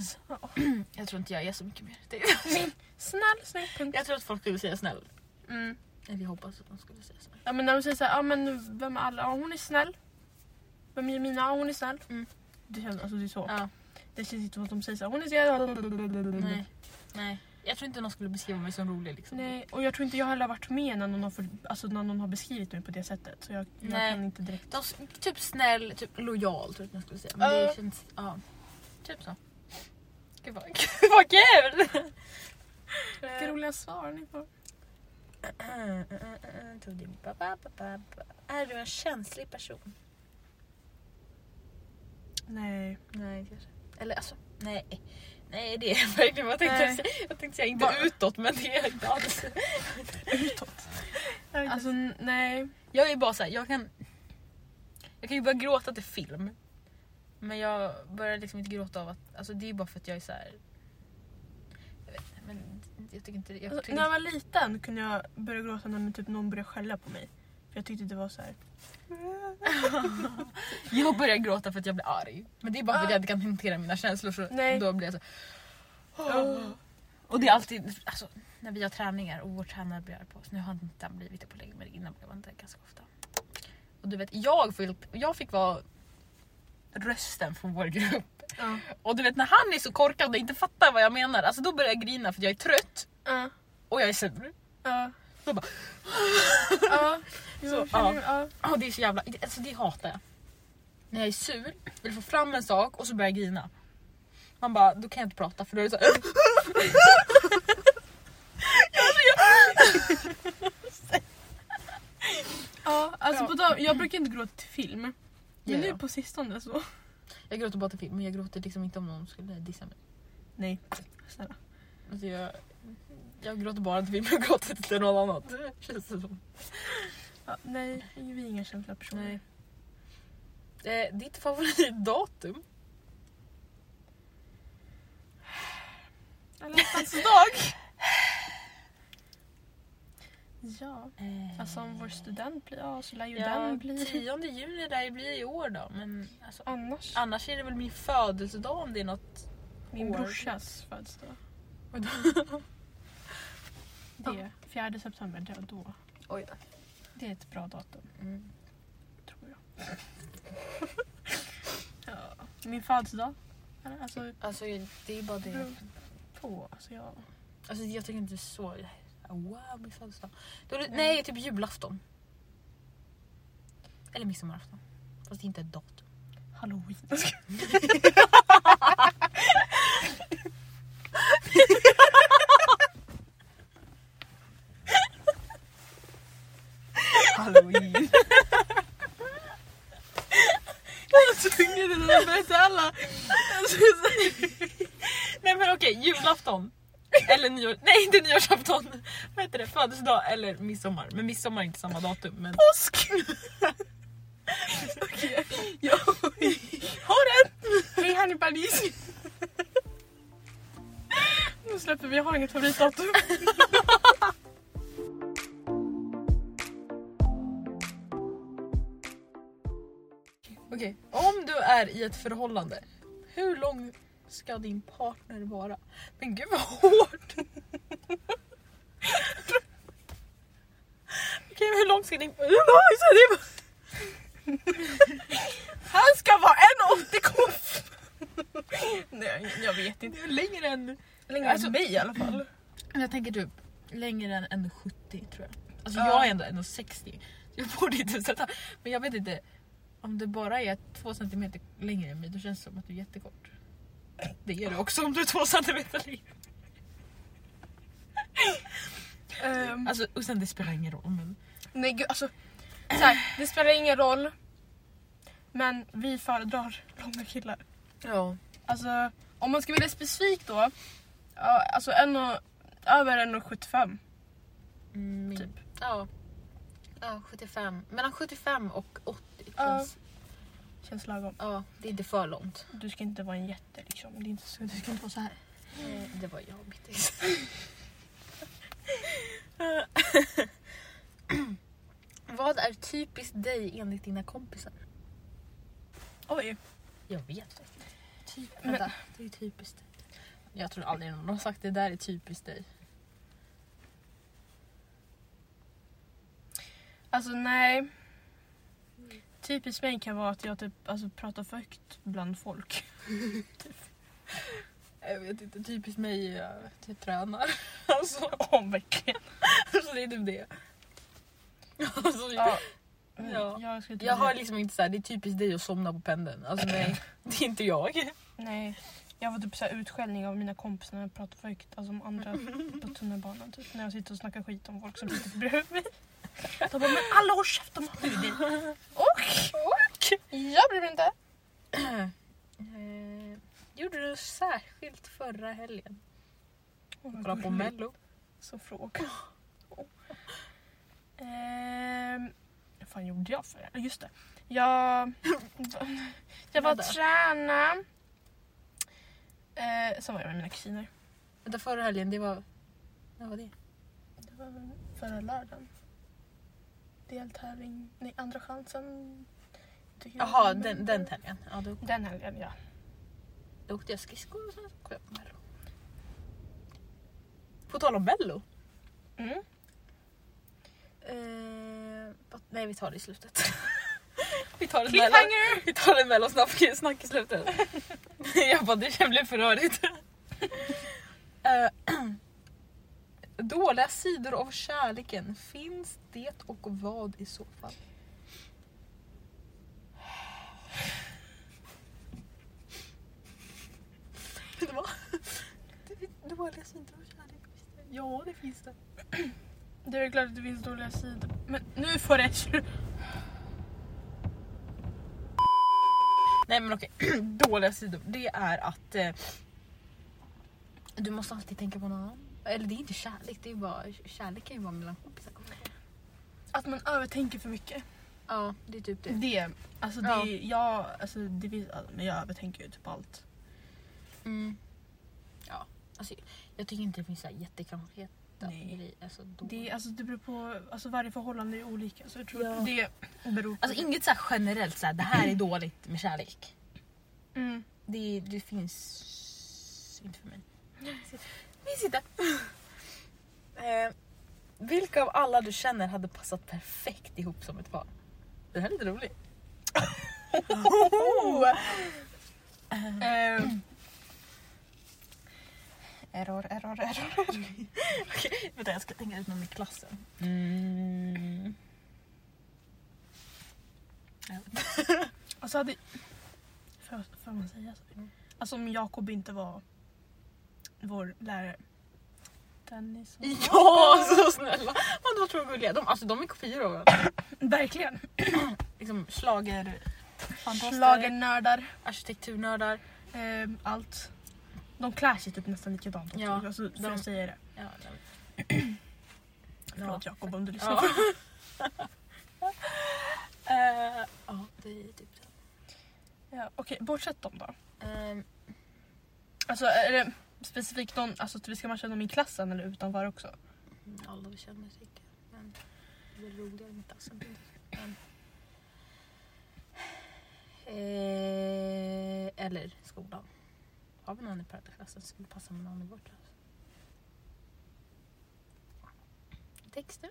Speaker 2: Så.
Speaker 3: Jag tror inte jag är så mycket mer. Det-
Speaker 2: Snäll, snäll, punkt.
Speaker 3: Jag tror att folk skulle säga snäll.
Speaker 2: Mm.
Speaker 3: Eller jag hoppas att de skulle säga snäll.
Speaker 2: Ja, men när de säger såhär, ah, men vem är alla? Ja, hon är snäll. Vem är mina? Ja, hon är snäll.
Speaker 3: Mm.
Speaker 2: Det, känns, alltså, det är så.
Speaker 3: Ja,
Speaker 2: Mm. Det känns inte som att de säger såhär, hon är snäll.
Speaker 3: nej. Nej. jag tror inte någon skulle beskriva mig som rolig liksom.
Speaker 2: Nej, och jag tror inte jag heller har varit med när någon har, för, alltså, när någon har beskrivit mig på det sättet. Så jag, jag
Speaker 3: Nej.
Speaker 2: kan inte direkt.
Speaker 3: De, s- typ snäll, typ lojal tror jag att man skulle säga. Men det
Speaker 2: Ja.
Speaker 3: känns, ja. Typ så. Gud vad, (laughs) gud vad kul!
Speaker 2: Vilka roliga svar ni får.
Speaker 3: Är du en känslig person?
Speaker 2: Nej.
Speaker 3: Nej kanske. Eller alltså, nej. Nej det är jag verkligen jag tänkte,
Speaker 2: Nej.
Speaker 3: säga- jag tänkte säga inte
Speaker 2: Bara-
Speaker 3: utåt men det är jag inte alls.
Speaker 2: Utåt. Alltså n- nej.
Speaker 3: Jag är bara såhär, jag kan... Jag kan ju börja gråta till film. Men jag börjar liksom inte gråta av att... Alltså det är bara för att jag är såhär... Jag vet inte, men jag tycker inte... Jag
Speaker 2: Alltså,
Speaker 3: tycker
Speaker 2: när jag
Speaker 3: inte
Speaker 2: var liten kunde jag börja gråta när typ någon började skälla på mig. För jag tyckte det var så (gasps) här.
Speaker 3: jag börjar gråta för att jag blir arg. Men det är bara för att jag inte kan hantera mina känslor så
Speaker 2: Nej.
Speaker 3: då blir jag så. Och det är alltid... Alltså, när vi har träningar och vår tränare blir arg på oss. Nu har inte han blivit det på länge men innan blev han det ganska ofta. Och du vet, jag fick, jag fick vara rösten från vår grupp.
Speaker 2: Ja.
Speaker 3: Och du vet när han är så korkad och inte fattar vad jag menar, alltså då börjar jag grina för att jag är trött
Speaker 2: Ja.
Speaker 3: och jag är sur.
Speaker 2: Ja.
Speaker 3: Då bara-
Speaker 2: (laughs) Ja.
Speaker 3: Så,
Speaker 2: Jo,
Speaker 3: ja.
Speaker 2: känner- ja.
Speaker 3: Oh, det är så jävla, alltså det hatar jag. När jag är sur, vill få fram en sak och så börjar jag grina. Man bara, då kan jag inte prata för då är det så här, "Äh,
Speaker 2: Ja, alltså
Speaker 3: Ja.
Speaker 2: På dag, jag brukar inte gråta till film. Men
Speaker 3: Ja, ja.
Speaker 2: nu på sistone så.
Speaker 3: Jag gråter bara till film men jag gråter liksom inte om någon skulle dissa mig.
Speaker 2: Nej. Snälla.
Speaker 3: Alltså jag, jag gråter bara till film, jag gråter inte till något annat. Känns det som.
Speaker 2: Ja, nej, vi är inga känsliga personer.
Speaker 3: Nej. Eh, ditt favoritdatum?
Speaker 2: Alla hjärtans dag! Ja,
Speaker 3: Eh,
Speaker 2: alltså om vår student blir av så lär ju
Speaker 3: ja, typ.
Speaker 2: den bli...
Speaker 3: 10 juni där det blir i år då men alltså
Speaker 2: Annars,
Speaker 3: Annars är det väl min födelsedag om det är något.
Speaker 2: min
Speaker 3: år.
Speaker 2: brorsas födelsedag. Det, 4 september, det var då.
Speaker 3: Oj då.
Speaker 2: Det är ett bra datum,
Speaker 3: Mm.
Speaker 2: tror jag. (laughs) ja. Min födelsedag? eller? Alltså
Speaker 3: Alltså det är bara det.
Speaker 2: beror på. Alltså jag...
Speaker 3: Alltså jag tycker inte så. Wow min födelsedag. Då är det,
Speaker 2: Mm.
Speaker 3: nej typ julafton. Eller midsommarafton. Fast det är inte ett datum.
Speaker 2: Halloween.
Speaker 3: Halloween.
Speaker 2: Så tyngre det där med alla. Alltså,
Speaker 3: nej men okej julafton. Eller nyår. Nej inte nyårsafton. Vad heter det? Födelsedag eller midsommar. Men midsommar är inte samma datum. Men... (laughs)
Speaker 2: Påsk! Okej, jag
Speaker 3: Ha det!
Speaker 2: (laughs) Hej Hannibalis! (laughs) Nu släpper vi, jag har inget favoritdatum.
Speaker 3: Okej, om du är i ett förhållande, hur lång ska din partner vara? Men gud vad hårt! Okej, hur lång ska din... Han ska vara 1,80
Speaker 2: Nej, jag vet inte.
Speaker 3: Det är längre än...
Speaker 2: Längre
Speaker 3: Alltså-
Speaker 2: än mig i alla fall.
Speaker 3: Jag tänker typ längre än 1,70 tror jag. Alltså
Speaker 2: Ja.
Speaker 3: jag är ändå 1,60. Jag borde inte sätta... Men jag vet inte. Om du bara är 2 cm längre än mig då känns det som att du är jättekort. Det är du också om du är 2 cm längre.
Speaker 2: Ehm,
Speaker 3: Alltså, och sen det spelar ingen roll men...
Speaker 2: nej gud alltså. Så här, det spelar ingen roll. Men vi föredrar långa killar.
Speaker 3: Ja.
Speaker 2: Alltså om man ska vilja specifikt då. Ja, alltså en och, över 1,75.
Speaker 3: Mm,
Speaker 2: Typ.
Speaker 3: typ. Ja. Ja, 75. Mellan 75 och 80
Speaker 2: Ja.
Speaker 3: känns...
Speaker 2: Känns lagom.
Speaker 3: Ja, det är inte för långt.
Speaker 2: Du ska inte vara en jätte liksom. Det är inte så, du ska inte vara så här.
Speaker 3: Eh, Det var jag och mitt ex. (laughs) Vad är typiskt dig enligt dina kompisar?
Speaker 2: Oj.
Speaker 3: Jag vet faktiskt inte. Typ,
Speaker 2: Men-
Speaker 3: vänta, det är typiskt dig. Jag tror aldrig någon har sagt det där är typiskt dig.
Speaker 2: Alltså nej. Typiskt mig kan vara att jag typ alltså, pratar för högt bland folk.
Speaker 3: Jag vet inte, typiskt mig, jag, jag tränar. (laughs) Alltså,
Speaker 2: Oh, (laughs) verkligen.
Speaker 3: så det är typ det. Alltså,
Speaker 2: Ja.
Speaker 3: Ja.
Speaker 2: Jag, skulle typ-
Speaker 3: Jag har liksom inte såhär, det är typiskt dig att somna på pendeln. Alltså nej, det är inte jag.
Speaker 2: Nej. Jag var typ så här utskällning av mina kompisar när jag pratade för högt, alltså
Speaker 3: (laughs)
Speaker 2: om andra på tunnelbanan. Typ, när jag sitter och snackar skit om folk som
Speaker 3: (laughs)
Speaker 2: sitter bredvid mig. De bara, men alla håll käften om dig. Och, och jag bryr mig inte.
Speaker 3: Eh, gjorde du något särskilt förra helgen?
Speaker 2: Åh, vad
Speaker 3: Kolla på
Speaker 2: gulligt.
Speaker 3: mello.
Speaker 2: Så fråga. Ehm, vad fan gjorde jag för det? Just det. Jag, jag var och
Speaker 3: Vadå?
Speaker 2: träna. Eh, sen var jag med mina kusiner.
Speaker 3: Vänta, förra helgen det var... När var det?
Speaker 2: Det var väl förra lördagen. Deltävling, nej andra chansen. tycker jag.
Speaker 3: Jaha, den, den helgen. Ja, då,
Speaker 2: Den helgen ja.
Speaker 3: då åkte jag skridskor och sen kollade jag på mello. På tal om mello.
Speaker 2: Mm.
Speaker 3: Eh, vad- nej, vi tar det i slutet. (laughs) vi tar det mellan.
Speaker 2: Cliffhanger!
Speaker 3: Vi tar en mellosnack i slutet. (laughs) jag bara, det blev för rörigt. (laughs) Eh, (clears throat) Dåliga sidor av kärleken, finns det och vad i så fall? Vet du vad? (laughs) Dåliga sidor av kärlek, finns det? Ja, det finns det.
Speaker 2: Det är väl klart att det finns dåliga sidor. Men nu får det slut.
Speaker 3: Nej men okej, (clears throat) dåliga sidor. Det är att eh, du måste alltid tänka på någon annan. Eller det är inte kärlek, det är bara, kärlek kan ju vara mellan kompisar.
Speaker 2: Att man övertänker för mycket.
Speaker 3: Ja, det är typ det.
Speaker 2: Det, alltså det,
Speaker 3: Ja.
Speaker 2: jag, alltså det finns, alltså, men jag övertänker ju typ allt.
Speaker 3: Mm. Ja, alltså, jag tycker inte det finns så här jättekonkreta
Speaker 2: Nej.
Speaker 3: grejer. Alltså, då-
Speaker 2: Det, alltså det beror på, alltså varje förhållande är olika så jag tror
Speaker 3: Ja.
Speaker 2: att det beror på.
Speaker 3: alltså inget så här generellt så här, det här är dåligt med kärlek.
Speaker 2: mm.
Speaker 3: Det, det finns inte för mig. Minns inte. Eh, vilka av alla du känner hade passat perfekt ihop som ett par? Det här är lite roligt.
Speaker 2: (laughs)
Speaker 3: Eh,
Speaker 2: Ehm. Error, error, error.
Speaker 3: Okej, vänta jag ska tänka ut någon i klassen. Mm.
Speaker 2: (laughs) Alltså hade, får, får man säga så?
Speaker 3: Mm.
Speaker 2: Alltså om Jakob inte var vår lärare. Dennis och...
Speaker 3: Ja, så snälla! Ja, de var så gulliga. De, alltså, de är kopior av varandra.
Speaker 2: Verkligen!
Speaker 3: liksom, Schlager... fantaster,
Speaker 2: Schlagernördar.
Speaker 3: Arkitekturnördar.
Speaker 2: ehm, allt. De klär sig typ nästan likadant också.
Speaker 3: Ja,
Speaker 2: alltså,
Speaker 3: de-
Speaker 2: för att säga det.
Speaker 3: Ja, de,
Speaker 2: (clears throat) Förlåt Jakob om du lyssnar
Speaker 3: ja.
Speaker 2: på
Speaker 3: (laughs) Eh, ja, det är typ det.
Speaker 2: Ja, Okej, bortsett dem då.
Speaker 3: Ehm,
Speaker 2: Alltså är det specifikt någon, alltså typ, ska man känna dem i klassen eller utanför också?
Speaker 3: alla vi känner säkert. Men det är roligare med tassen. Men... Eh, eller skolan. Har vi någon i parallellklassen som skulle passa med någon i vår klass? Texter?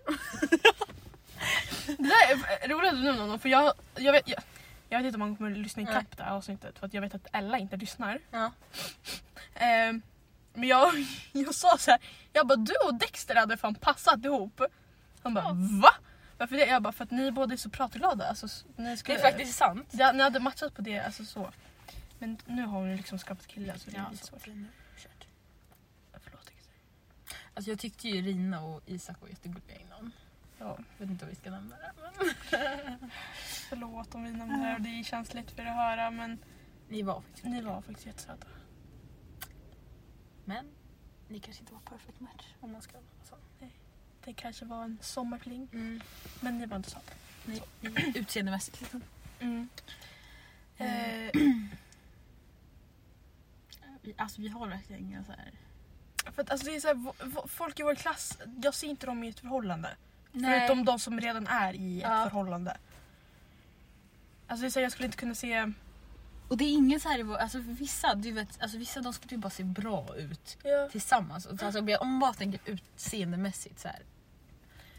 Speaker 2: Det där är roligt att du nämner honom för jag, jag, vet, jag, jag vet inte om han kommer att lyssna ikapp det här avsnittet för att jag vet att Ella inte lyssnar.
Speaker 3: Ja.
Speaker 2: Ehm, men jag, (laughs) jag sa så här, jag bara du och Dexter hade fan passat ihop. Han bara
Speaker 3: Ja.
Speaker 2: va? Varför det? Jag bara för att ni båda är så pratglada. Alltså, s- ni
Speaker 3: Det
Speaker 2: skulle,
Speaker 3: är faktiskt sant.
Speaker 2: Ja, ni hade matchat på det, alltså så. Men nu har hon ju liksom skapat killar så det är
Speaker 3: Ja,
Speaker 2: lite
Speaker 3: så.
Speaker 2: svårt. Förlåt Dexter.
Speaker 3: Alltså jag tyckte ju Rina och Isak var jättegulliga innan.
Speaker 2: Ja.
Speaker 3: Jag vet inte om vi ska nämna det. Men... (laughs)
Speaker 2: Förlåt om vi nämner det här och det är känsligt för att höra men
Speaker 3: Ni var faktiskt
Speaker 2: ni var faktiskt jättesöta.
Speaker 3: Men ni kanske inte var perfect match om man ska vara sån.
Speaker 2: Det kanske var en sommarfling men ni var inte söta.
Speaker 3: Ni, ni utseendemässigt liksom.
Speaker 2: Mm. Eh, (clears throat)
Speaker 3: Vi, alltså vi har verkligen inga så här...
Speaker 2: för att, alltså, det är så här, vo- vo- folk i vår klass, jag ser inte dem i ett förhållande.
Speaker 3: Förutom
Speaker 2: Förutom de som redan är i ett
Speaker 3: Ja.
Speaker 2: förhållande. Alltså det är så här, jag skulle inte kunna se...
Speaker 3: Och det är ingen så här, i vår- alltså för vissa, du vet, alltså vissa de skulle ju bara se bra ut
Speaker 2: Ja.
Speaker 3: tillsammans. Och så- Alltså, om jag- om man bara tänker utseendemässigt så här.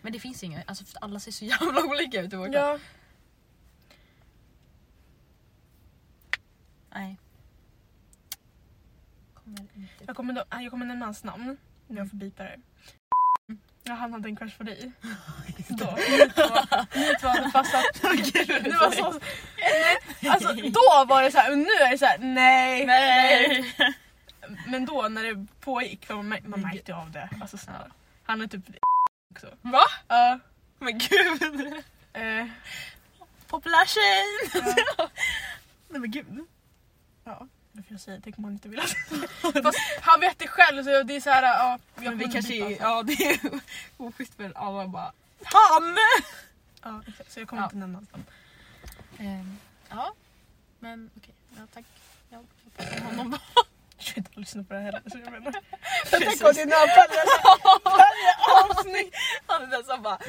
Speaker 3: Men det finns inga, alltså för alla ser så jävla (laughs) olika ut i vår klass.
Speaker 2: ja.
Speaker 3: Nej. Kom kommer inte...
Speaker 2: Jag kommer, då, ah, jag kommer nämna hans namn när jag får bipa det. Ja, han hade en crush på (laughs) dig.
Speaker 3: (laughs)
Speaker 2: Då, ni två, ni två hade fastnat. Det var så, nej, alltså, då var det så här, och nu är det så här, nej.
Speaker 3: Nej!
Speaker 2: Men då när det pågick, man, mär- man märkte ju av det. Alltså snälla. Han är typ också.
Speaker 3: Va?
Speaker 2: Ja.
Speaker 3: (laughs) Men gud!
Speaker 2: eh,
Speaker 3: Populär tjej!
Speaker 2: (laughs) Nej men gud. Ja, det får jag säga. Det kommer han inte vilja. (laughs) Fast han vet det själv så det är såhär... Ja, jag
Speaker 3: Men vi
Speaker 2: kommer
Speaker 3: kanske
Speaker 2: bippa,
Speaker 3: är,
Speaker 2: alltså.
Speaker 3: ja det är (laughs) ju oschysst men alla bara HAN!
Speaker 2: Ja, exakt. så jag kommer
Speaker 3: Ja.
Speaker 2: inte nämna hans namn.
Speaker 3: Ehm, ja, men okej. Ja, tack. Jag pratar om honom (laughs) då.
Speaker 2: Jag inte lyssna på det här heller. Så jag menar.
Speaker 3: Precis. (laughs)
Speaker 2: avsnitt.
Speaker 3: Han är den som (laughs) bara...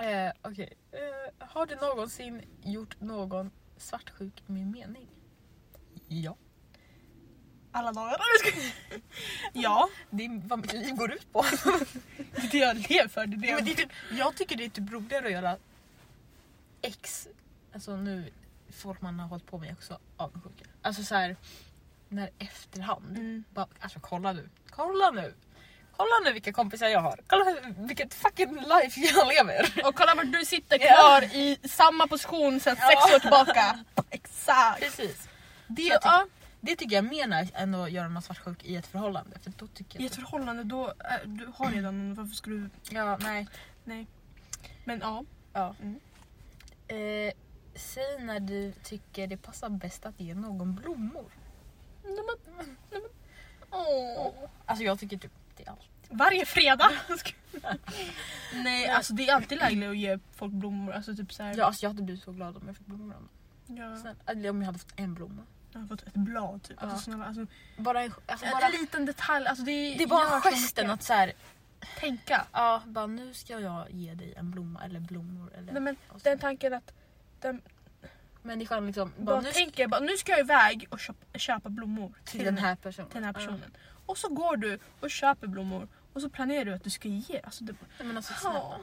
Speaker 3: eh, okej. Eh, har du någonsin gjort någon svartsjuk med mening? Ja.
Speaker 2: Alla dagar. Ja,
Speaker 3: Det är vad mitt liv går ut på.
Speaker 2: (laughs) det är det jag lever för. Det är det
Speaker 3: Ja,
Speaker 2: jag...
Speaker 3: men det är typ, jag tycker det är typ roligare att göra ex, alltså nu folk man har hållit på med är också avundsjuka. Alltså så här, när efterhand,
Speaker 2: Mm.
Speaker 3: bara, alltså kolla nu, kolla nu. Kolla nu vilka kompisar jag har, kolla hur- vilket fucking life jag lever.
Speaker 2: Och kolla vart du sitter
Speaker 3: Ja.
Speaker 2: kvar i samma position sedan sex år tillbaka. typ- Exakt.
Speaker 3: Precis.
Speaker 2: Det,
Speaker 3: Så jag
Speaker 2: ja,
Speaker 3: Det tycker jag är mer nice än att göra någon svartsjuk i ett förhållande. För då tycker
Speaker 2: I
Speaker 3: jag
Speaker 2: ett förhållande då... eh, Du har redan någon, varför skulle du...
Speaker 3: ja, nej.
Speaker 2: Nej. Men ja.
Speaker 3: Ja.
Speaker 2: Mm.
Speaker 3: Eh, säg när du tycker det passar bäst att ge någon blommor.
Speaker 2: Åh.
Speaker 3: Alltså jag tycker typ det är allt.
Speaker 2: Varje fredag! (laughs) Nej, alltså det är alltid lägligt att ge folk blommor. Alltså typ såhär,
Speaker 3: Ja, alltså jag hade blivit så glad om jag fick blommor av
Speaker 2: ja.
Speaker 3: någon. Eller om jag hade fått en blomma.
Speaker 2: jag har fått ett blad typ.
Speaker 3: Ja.
Speaker 2: Alltså, snälla, alltså,
Speaker 3: Bara en, alltså
Speaker 2: en
Speaker 3: bara,
Speaker 2: liten detalj, alltså det,
Speaker 3: det är bara
Speaker 2: gör så
Speaker 3: gesten
Speaker 2: mycket.
Speaker 3: att såhär,
Speaker 2: tänka.
Speaker 3: ja, bara nu ska jag ge dig en blomma eller blommor eller
Speaker 2: Nej, men
Speaker 3: och så.
Speaker 2: den tanken att den
Speaker 3: människan liksom, bara,
Speaker 2: Alltså. bara
Speaker 3: nu ska
Speaker 2: tänker bara, nu ska jag iväg och köpa, köpa blommor
Speaker 3: till den här personen.
Speaker 2: till den här personen. Och så går du och köper blommor och så planerar du att du ska ge. Alltså, det,
Speaker 3: Ja, men alltså
Speaker 2: Ja.
Speaker 3: snälla.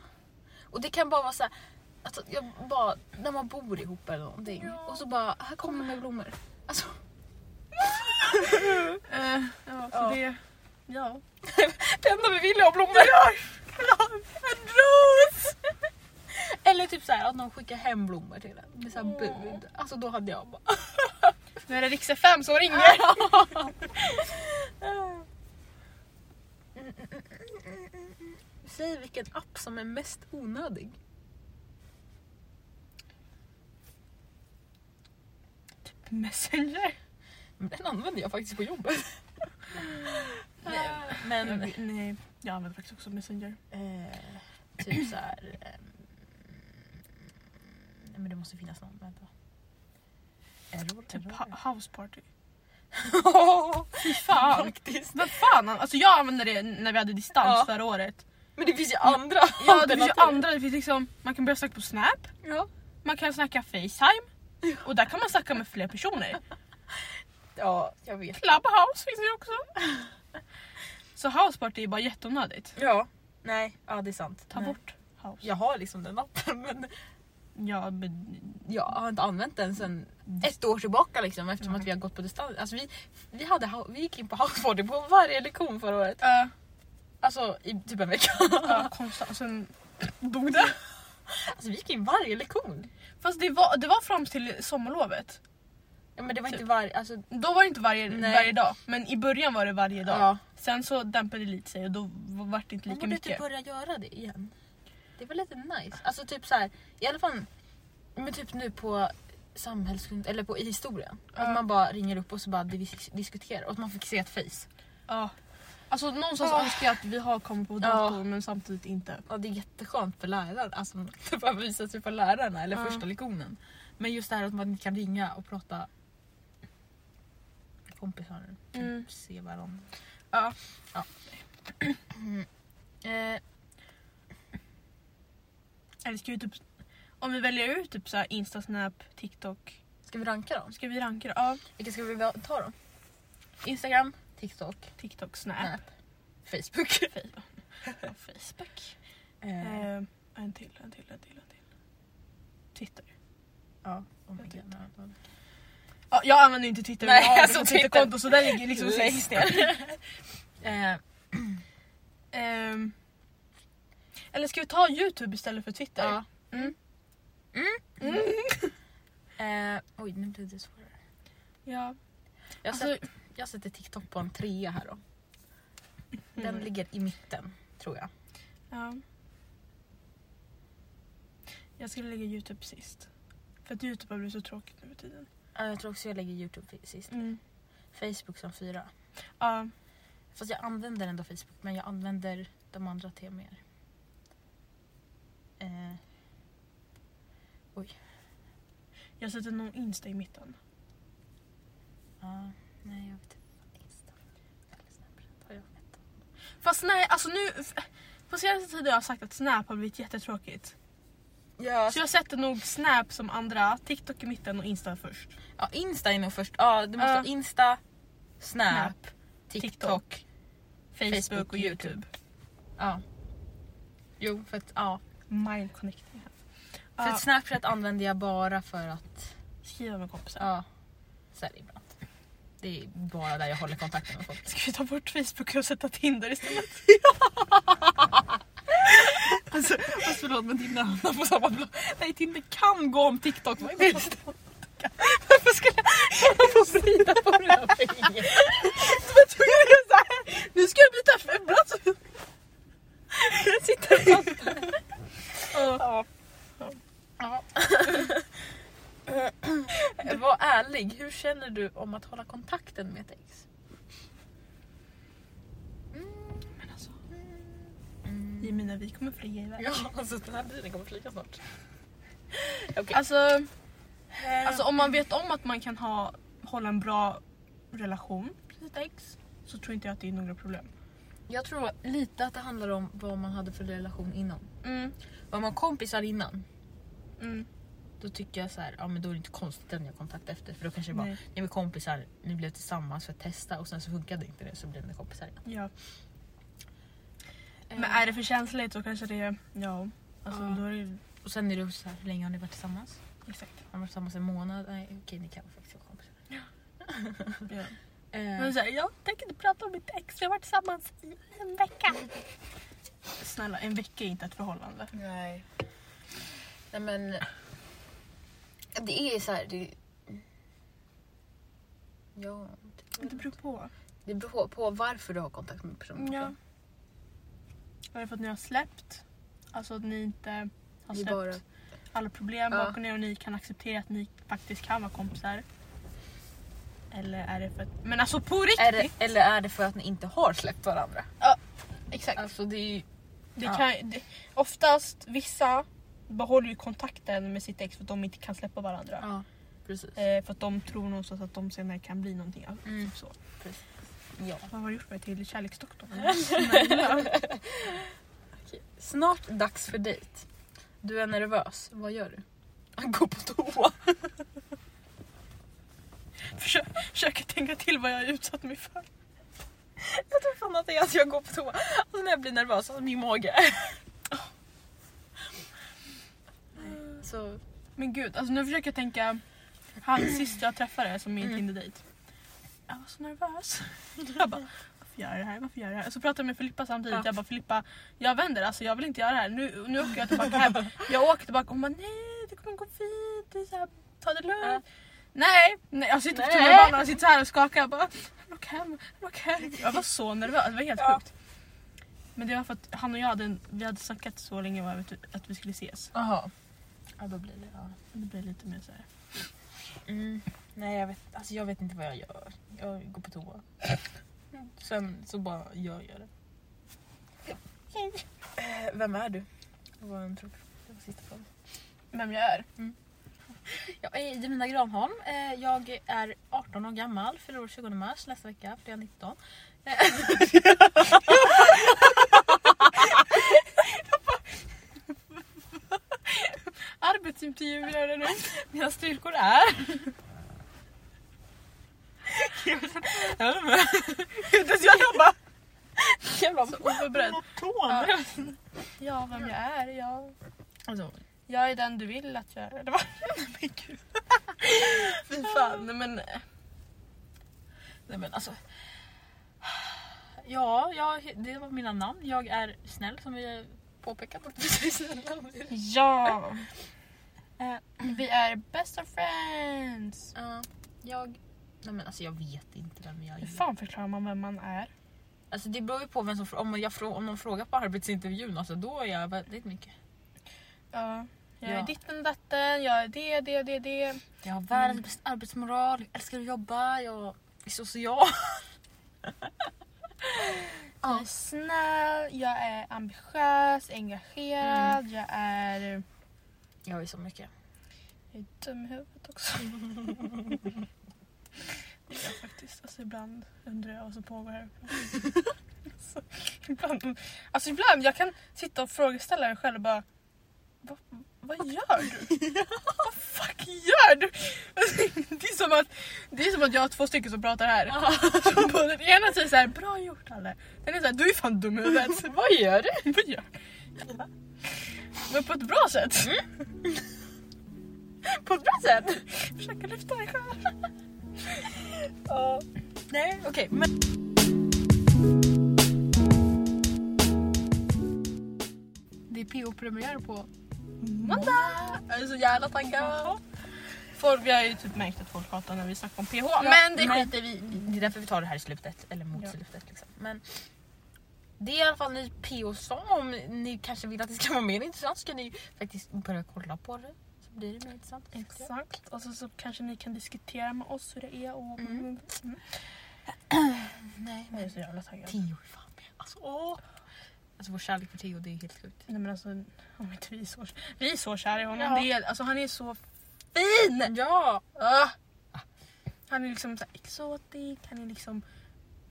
Speaker 3: Och det kan bara vara såhär, alltså, jag bara, när man bor ihop eller någonting
Speaker 2: Ja.
Speaker 3: och så bara, här kommer med blommor. Alltså,
Speaker 2: eh, ja, så
Speaker 3: Ja.
Speaker 2: det... Ja.
Speaker 3: det enda vi vill är blommor. en ros! Eller typ såhär att någon skickar hem blommor till en med såhär
Speaker 2: Åh.
Speaker 3: bud. Alltså då hade jag bara
Speaker 2: Nu är det Rix FM som ringer! (laughs)
Speaker 3: Säg vilken app som är mest onödig.
Speaker 2: Typ Messenger.
Speaker 3: Men Den använder jag faktiskt på jobbet. Nej, men
Speaker 2: Jag, nej, jag använder faktiskt också Messenger.
Speaker 3: eh, typ så här. ehm, nej, men det måste finnas någon. Vänta. Error,
Speaker 2: Typ
Speaker 3: error, error.
Speaker 2: ha- house party.
Speaker 3: (laughs) Fy fan.
Speaker 2: Vad fan, alltså jag använde det när vi hade distans
Speaker 3: Ja.
Speaker 2: förra året.
Speaker 3: Men det finns ju andra
Speaker 2: Ja, det finns ju andra, det finns liksom, man kan börja snacka på snap,
Speaker 3: Ja.
Speaker 2: man kan snacka facetime och där kan man snacka med fler personer.
Speaker 3: ja, jag vet.
Speaker 2: Clubhouse finns ju också. Så house party är bara jätteonödigt.
Speaker 3: Ja, nej, ja det är sant.
Speaker 2: Ta
Speaker 3: nej.
Speaker 2: bort house.
Speaker 3: Jag har liksom den appen men
Speaker 2: Ja, men,
Speaker 3: jag har inte använt den sen ett år tillbaka liksom eftersom
Speaker 2: Mhm.
Speaker 3: att vi har gått på distans. Alltså vi, vi, hade, ha- vi gick in på houseboardy på varje lektion förra året.
Speaker 2: äh,
Speaker 3: Alltså i typ en vecka.
Speaker 2: ja, konstant. Och sen dog det.
Speaker 3: Alltså vi gick in varje lektion.
Speaker 2: Fast det var, det var fram till sommarlovet.
Speaker 3: Ja, men det var inte varje, alltså
Speaker 2: Då var det inte varje,
Speaker 3: Nej.
Speaker 2: varje dag, men i början var det varje dag.
Speaker 3: ja.
Speaker 2: Sen så dämpade det lite sig och då var det inte
Speaker 3: Man
Speaker 2: lika
Speaker 3: borde typ
Speaker 2: mycket.
Speaker 3: börja göra det igen. Det var lite nice. Alltså typ så här, i alla fall men typ nu på samhällskunskap eller på, i historia.
Speaker 2: Ja.
Speaker 3: Att man bara ringer upp och så bara dis- diskuterar och att man fick se ett face.
Speaker 2: Ja. Alltså någonstans
Speaker 3: Ah.
Speaker 2: önskar jag att vi har kommit på
Speaker 3: Ja.
Speaker 2: datorn men samtidigt inte.
Speaker 3: Ja, det är jätteskönt för läraren, alltså (laughs) man inte behöver visa sig för lärarna eller
Speaker 2: Ja.
Speaker 3: första lektionen. Men just det här att man kan ringa och prata med kompisar, typ
Speaker 2: Mm.
Speaker 3: se varandra.
Speaker 2: Ja.
Speaker 3: ja. (clears throat) eh,
Speaker 2: Eller ska vi typ, om vi väljer ut typ så här Insta, Snap, TikTok.
Speaker 3: ska vi ranka då?
Speaker 2: Ska vi ranka det? Ja,
Speaker 3: Vilka ska vi ta då? Instagram, TikTok,
Speaker 2: TikTok, Snap,
Speaker 3: Snap, (laughs) Facebook.
Speaker 2: Fe- ja, Facebook.
Speaker 3: Eh,
Speaker 2: Eh, en till, en till, en till, en till. Twitter.
Speaker 3: ja, oh my God,
Speaker 2: jag tittar.
Speaker 3: ja,
Speaker 2: Ja, jag använder ju inte Twitter,
Speaker 3: Nej,
Speaker 2: Nej, jag har
Speaker 3: alltså
Speaker 2: alltså, Twitterkonto så den ligger liksom
Speaker 3: Längst
Speaker 2: längst
Speaker 3: ner.
Speaker 2: ner.
Speaker 3: (laughs) Eh,
Speaker 2: Ehm, eller ska vi ta Youtube istället för Twitter?
Speaker 3: ja.
Speaker 2: Mm.
Speaker 3: Mm. Eh, oj, nu blev det svårare.
Speaker 2: Ja.
Speaker 3: Jag,
Speaker 2: Alltså-
Speaker 3: sätter, jag sätter TikTok på en trea här då. Den
Speaker 2: Mm.
Speaker 3: ligger i mitten, tror jag.
Speaker 2: ja. Jag skulle lägga Youtube sist. För att Youtube har blivit så tråkigt nu för tiden.
Speaker 3: Ja, jag tror också jag lägger Youtube sist. Mm. Facebook som fyra.
Speaker 2: Ja.
Speaker 3: Fast jag använder ändå Facebook, men jag använder de andra till mer. Eh,
Speaker 2: Jag sätter nog Insta i mitten.
Speaker 3: ja, nej jag vet inte. Insta. Eller Snapchat har jag vet.
Speaker 2: Fast nej, alltså nu... f- På senaste tiden har jag sagt att Snap har blivit jättetråkigt.
Speaker 3: Ja,
Speaker 2: Så jag sätter nog Snap som andra, TikTok i mitten och Insta först.
Speaker 3: ja, Insta är nog först. Ja, du måste
Speaker 2: Ja.
Speaker 3: ha Insta, Snap,
Speaker 2: Snap,
Speaker 3: TikTok.
Speaker 2: TikTok. Facebook,
Speaker 3: Facebook,
Speaker 2: och Youtube.
Speaker 3: Ja. Jo, för att, ja.
Speaker 2: Mind connecting. här.
Speaker 3: För
Speaker 2: Ja,
Speaker 3: att Snapchat använder jag bara för att,
Speaker 2: skriva med kompisar.
Speaker 3: ja. Så är det ibland. Det är bara där jag håller kontakten med folk.
Speaker 2: Ska vi ta bort Facebook och sätta
Speaker 3: (laughs)
Speaker 2: Tinder istället?
Speaker 3: Alltså, alltså förlåt men Tinder hamnar på samma plan. Nej Tinder kan gå om TikTok. Vad är det? Varför skulle jag jag får vrida på den här fingret?
Speaker 2: Vad tror jag är så
Speaker 3: (laughs)
Speaker 2: här? Nu ska jag byta för- plats!
Speaker 3: Jag sitter fast.
Speaker 2: Ja.
Speaker 3: Ja. Var ärlig, hur känner du om att hålla kontakten med ett ex?
Speaker 2: Men alltså, Jemina vi kommer flyga iväg.
Speaker 3: Ja, alltså den här bilen kommer flyga snart. Okej.
Speaker 2: Alltså,
Speaker 3: Alltså,
Speaker 2: alltså om man vet om att man kan ha, hålla en bra relation till sitt ex så tror inte jag att det är några problem.
Speaker 3: jag tror lite att det handlar om vad man hade för relation innan.
Speaker 2: Mm,
Speaker 3: Var man kompisar innan,
Speaker 2: mm,
Speaker 3: då tycker jag så här, ja men då är det inte konstigt att ni har kontakt efter. För då kanske det bara,
Speaker 2: nej.
Speaker 3: ni var kompisar, ni blev tillsammans för att testa och sen så funkade inte det så blev ni kompisar igen.
Speaker 2: Ja. Men är det för känsligt så kanske det är... Ja. Alltså
Speaker 3: Ja.
Speaker 2: då är det ju...
Speaker 3: Och sen är det också så här, hur länge har ni varit tillsammans?
Speaker 2: Exakt.
Speaker 3: Har ni varit tillsammans en månad? Nej okej ni kan faktiskt vara kompisar.
Speaker 2: Ja.
Speaker 3: Eh,
Speaker 2: Men så här, jag tänker inte prata om mitt ex, vi har varit tillsammans i en vecka. Snälla, en vecka är inte ett förhållande.
Speaker 3: nej. Nej men. Det är så här, det... Ja.
Speaker 2: Det beror på.
Speaker 3: Det beror på varför du har kontakt med personen.
Speaker 2: Ja. Är det för att ni har släppt? Alltså att ni inte har
Speaker 3: Det är
Speaker 2: släppt
Speaker 3: bara-
Speaker 2: alla problem
Speaker 3: Ja.
Speaker 2: bakom er och ni kan acceptera att ni faktiskt kan vara kompisar? Eller är det för att... Men alltså på riktigt!
Speaker 3: Är det, eller är det för att ni inte har släppt varandra?
Speaker 2: Exakt.
Speaker 3: Alltså det är ju...
Speaker 2: Det
Speaker 3: Ja.
Speaker 2: kan, det, oftast, vissa behåller ju kontakten med sitt ex för att de inte kan släppa varandra.
Speaker 3: Ja, precis.
Speaker 2: Eh, för att de tror någonstans att de senare kan bli någonting. Alltså,
Speaker 3: Mm.
Speaker 2: typ så.
Speaker 3: (laughs) Ja.
Speaker 2: Vad har du gjort mig
Speaker 3: (laughs)
Speaker 2: till kärleksdoktorn?
Speaker 3: Snart dags för dejt. Du är nervös. Vad gör du? Han går på toa.
Speaker 2: (laughs)
Speaker 3: (laughs)
Speaker 2: Försö- Försöker tänka till vad jag har utsatt mig för.
Speaker 3: Jag tror fan att det är att jag går på toa. Alltså när jag blir nervös, alltså min mage. Så,
Speaker 2: Men gud, alltså nu försöker jag tänka. Han
Speaker 3: (clears throat)
Speaker 2: sist jag träffade som min
Speaker 3: Mm.
Speaker 2: Tinder-dejt. Jag var så nervös. (laughs) Jag bara, varför gör jag det här? Varför gör jag det här? Så pratade jag med Filippa samtidigt.
Speaker 3: Ja.
Speaker 2: Jag bara Filippa, jag vänder alltså jag vill inte göra det här. Nu, nu åker jag
Speaker 3: (laughs)
Speaker 2: tillbaka hem. Jag åker tillbaka och hon bara nej det kommer gå fint. Det är så här, ta det lugnt.
Speaker 3: Ja.
Speaker 2: Nej, nej, jag sitter på
Speaker 3: Nej.
Speaker 2: tunnelbanan och sitter så här och skakar. Jag bara, "Jag vill åka hem, jag vill åka hem. Jag var så nervös, det var helt
Speaker 3: Ja.
Speaker 2: sjukt. Men det var för att han och jag hade, vi hade snackat så länge om att- att vi skulle ses.
Speaker 3: aha. Ja då blir det ja.
Speaker 2: Det blev lite mer så här.
Speaker 3: Mm. Nej jag vet, alltså jag vet inte vad jag gör. Jag går på (laughs) toa. Sen så bara jag gör det. Eh, Vem är du? Det var en tråkig fråga. Det var sista frågan.
Speaker 2: Vem jag är?
Speaker 3: Jag är Jemina Granholm. Eh, Jag är 18 år gammal, fyller år 20 mars nästa vecka, för det är 19. Eh, (laughs)
Speaker 2: Arbetsintervju vill jag göra nu.
Speaker 3: Mina styrkor är...
Speaker 2: Inte ens jag jobbar!
Speaker 3: Jävla
Speaker 2: Oförberedd.
Speaker 3: tån!
Speaker 2: Ja, vem jag är? Jag,
Speaker 3: Alltså,
Speaker 2: (laughs) jag är den du vill att jag är. Det var...
Speaker 3: fy
Speaker 2: fan, nej men...
Speaker 3: Nej men alltså. Ja, jag, det var mina namn. Jag är snäll som vi påpekat att vi är snälla.
Speaker 2: Ja!
Speaker 3: Eh,
Speaker 2: Vi är best of friends!
Speaker 3: ja, jag... Nej men alltså jag vet inte vem jag
Speaker 2: Hur
Speaker 3: är.
Speaker 2: fan förklarar man vem man är?
Speaker 3: Alltså det beror ju på vem som frå- om, jag frå- om någon frågar på arbetsintervjun alltså då är jag väldigt mycket.
Speaker 2: Ja. Jag
Speaker 3: Ja.
Speaker 2: är ditten datten, jag är det, det, det, det.
Speaker 3: Jag har världens
Speaker 2: Mm.
Speaker 3: bästa arbetsmoral, jag älskar att jobba, jag är (laughs) social.
Speaker 2: Jag är snäll, jag är ambitiös, engagerad, jag är...
Speaker 3: Jag är så mycket.
Speaker 2: Jag är dum i huvudet också. Det är jag faktiskt. Alltså ibland undrar jag vad som pågår här. alltså, ibland, alltså ibland jag kan sitta och frågeställa mig själv och bara "Va- vad gör du? Vad fuck gör du? Det är, som att, det är som att jag har två stycken som pratar här. Som på den ena säger såhär, bra gjort Alle. Den är såhär, du är fan dum i huvudet.
Speaker 3: Vad gör du?
Speaker 2: Vad gör du? Men på ett bra sätt.
Speaker 3: På ett bra sätt.
Speaker 2: Försöka lyfta dig själv.
Speaker 3: Ja. nej, okej. men... Det är PO-premiär på
Speaker 2: Måndag! Jag är så jävla taggad. Folk, vi har ju typ märkt att folk hatar när vi snackar om PH. men det skiter
Speaker 3: vi Det är därför vi tar det här i slutet, eller mot
Speaker 2: Ja.
Speaker 3: slutet. Liksom. Men det är i alla fall ny PO-sång. Om ni kanske vill att det ska vara mer intressant så kan ni ju faktiskt börja kolla på det. Så blir det mer intressant.
Speaker 2: Exakt. Och så, så kanske ni kan diskutera med oss hur det är. Och...
Speaker 3: Mm.
Speaker 2: Mm.
Speaker 3: Nej,
Speaker 2: Jag
Speaker 3: men
Speaker 2: är så jävla taggad.
Speaker 3: Theo är fan med. Alltså, åh. alltså vår kärlek för Theo, det är helt sjukt.
Speaker 2: Nej men alltså, om inte vi är så, vi är så kära i honom.
Speaker 3: Ja.
Speaker 2: Det är, alltså, han är så fin!
Speaker 3: Ja!
Speaker 2: Ah. Han är liksom så här exotisk, han är liksom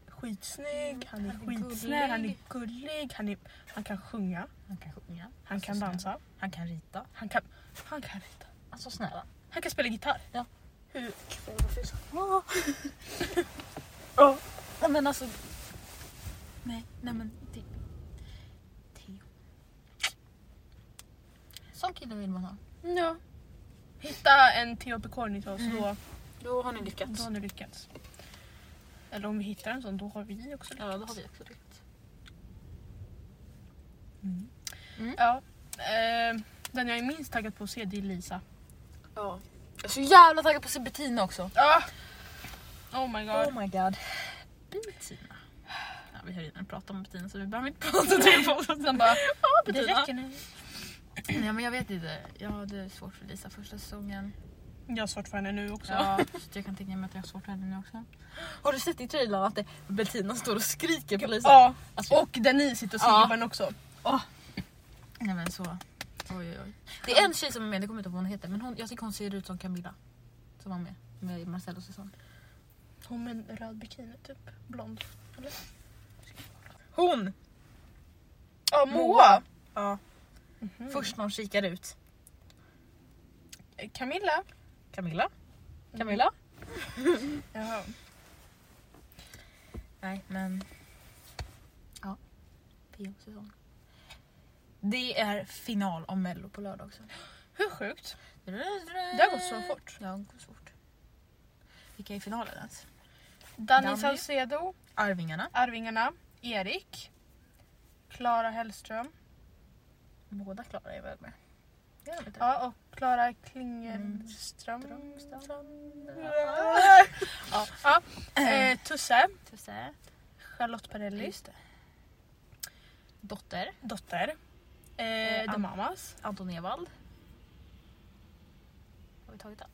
Speaker 2: skitsnygg, Mm. han är
Speaker 3: Han är
Speaker 2: skitsnäll, han är
Speaker 3: gullig.
Speaker 2: gullig, han, är, han kan sjunga,
Speaker 3: Han kan sjunga. Alltså,
Speaker 2: han kan dansa,
Speaker 3: Han kan rita.
Speaker 2: han kan, han kan rita,
Speaker 3: Alltså snälla.
Speaker 2: han kan spela gitarr.
Speaker 3: Ja.
Speaker 2: Hur,
Speaker 3: Ja. Nej men alltså. Nej, nej men. Det... Theo. Sån kille vill man ha.
Speaker 2: Ja. Hitta en Theo Pecorni till oss,
Speaker 3: Mm.
Speaker 2: då,
Speaker 3: Då har ni
Speaker 2: då har ni lyckats. Eller om vi hittar en sån, då har vi också lyckats.
Speaker 3: Ja, då har vi också lyckats.
Speaker 2: Ja. Eh, den jag är minst taggad på att se det är Lisa.
Speaker 3: Ja. Jag är så jävla taggad på att se Bettina också.
Speaker 2: Ah! Oh my god.
Speaker 3: Oh my god. Bettina. Ja, vi har redan pratat om Bettina så vi behöver inte prata till om
Speaker 2: Sen bara,
Speaker 3: Ja,
Speaker 2: det räcker nu.
Speaker 3: Nej men jag vet inte. Jag hade svårt för Lisa första säsongen.
Speaker 2: Jag har svårt för henne nu
Speaker 3: (laughs)
Speaker 2: också.
Speaker 3: Ja, så jag kan tänka mig att jag har svårt för henne nu också. Har du sett i trailern att det- Bettina står och skriker på Lisa?
Speaker 2: Ja,
Speaker 3: Alltså,
Speaker 2: Och Denise sitter och
Speaker 3: Ja.
Speaker 2: simmar den också.
Speaker 3: Nej men så. Oj, oj, oj. Det är en tjej som är med, det kommer jag inte ihåg vad hon heter, men hon, jag tycker hon ser ut som Camilla. Som var med, med i Marcellos säsong.
Speaker 2: Hon med en röd bikini typ. Blond.
Speaker 3: Hon!
Speaker 2: Ja,
Speaker 3: Moa. Ja. Först någon kikar ut.
Speaker 2: Camilla.
Speaker 3: Camilla? Camilla?
Speaker 2: Mm. Jaha.
Speaker 3: Nej men... Ja. PO-säsong. Det är final av mello på lördag också.
Speaker 2: Hur sjukt?
Speaker 3: Det har
Speaker 2: har gått så fort.
Speaker 3: Ja, det har gått så fort. Vilka är i finalen ens?
Speaker 2: Danny
Speaker 3: Danny.
Speaker 2: Saucedo,
Speaker 3: Arvingarna.
Speaker 2: Arvingarna, Erik, Klara Hellström.
Speaker 3: Båda Klara är väl med? Gör de inte det?
Speaker 2: Ja, och Klara Klingenström.
Speaker 3: Ström,
Speaker 2: Ja. Ja.
Speaker 3: Eh,
Speaker 2: Eh, Tusse,
Speaker 3: Tusse.
Speaker 2: Charlotte Perrelli,
Speaker 3: Just det. Dotter.
Speaker 2: dotter.
Speaker 3: Eh,
Speaker 2: Eh, The
Speaker 3: Ann-
Speaker 2: Mamas.
Speaker 3: Anton Ewald. Har vi tagit alla?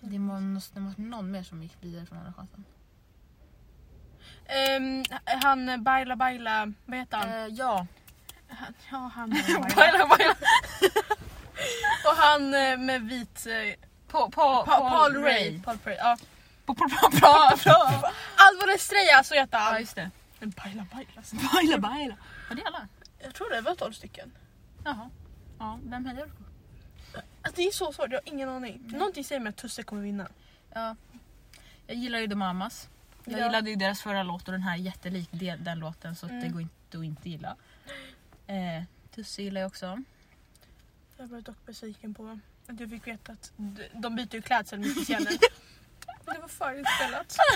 Speaker 3: Det måste vara någon mer som gick vidare från Andra chansen.
Speaker 2: Ehm, han eh, Baila Baila, vad heter han?
Speaker 3: Eh, ja.
Speaker 2: han ja, han Baila Baila.
Speaker 3: (laughs) Paul, Paul,
Speaker 2: (laughs) Och han eh, med vit... Eh,
Speaker 3: Paul, Paul,
Speaker 2: Pa- Paul Ray. Paul Ray. Ja.
Speaker 3: Paul, Paul, Paul, Paul, Paul.
Speaker 2: Alvarez Estrella, så heter
Speaker 3: Ja
Speaker 2: han.
Speaker 3: just det.
Speaker 2: Baila Baila.
Speaker 3: Baila baila. Var det alla?
Speaker 2: Jag tror det var 12 stycken.
Speaker 3: Jaha. Ja, vem hejar du på?
Speaker 2: Alltså, det är så svårt, jag har ingen aning. Någonting säger mig att Tusse kommer vinna.
Speaker 3: Ja. Jag gillar ju The Mamas. Jag
Speaker 2: Ja.
Speaker 3: gillade ju deras förra låt och den här är jättelik de- den låten så att det
Speaker 2: Mm.
Speaker 3: går inte att inte gilla. Eh, Tusse gillar jag också.
Speaker 2: Jag var dock besviken på att jag fick veta att d- de byter ju klädsel mitt i scenen. (laughs) Det var (laughs) förinspelat.
Speaker 3: (laughs)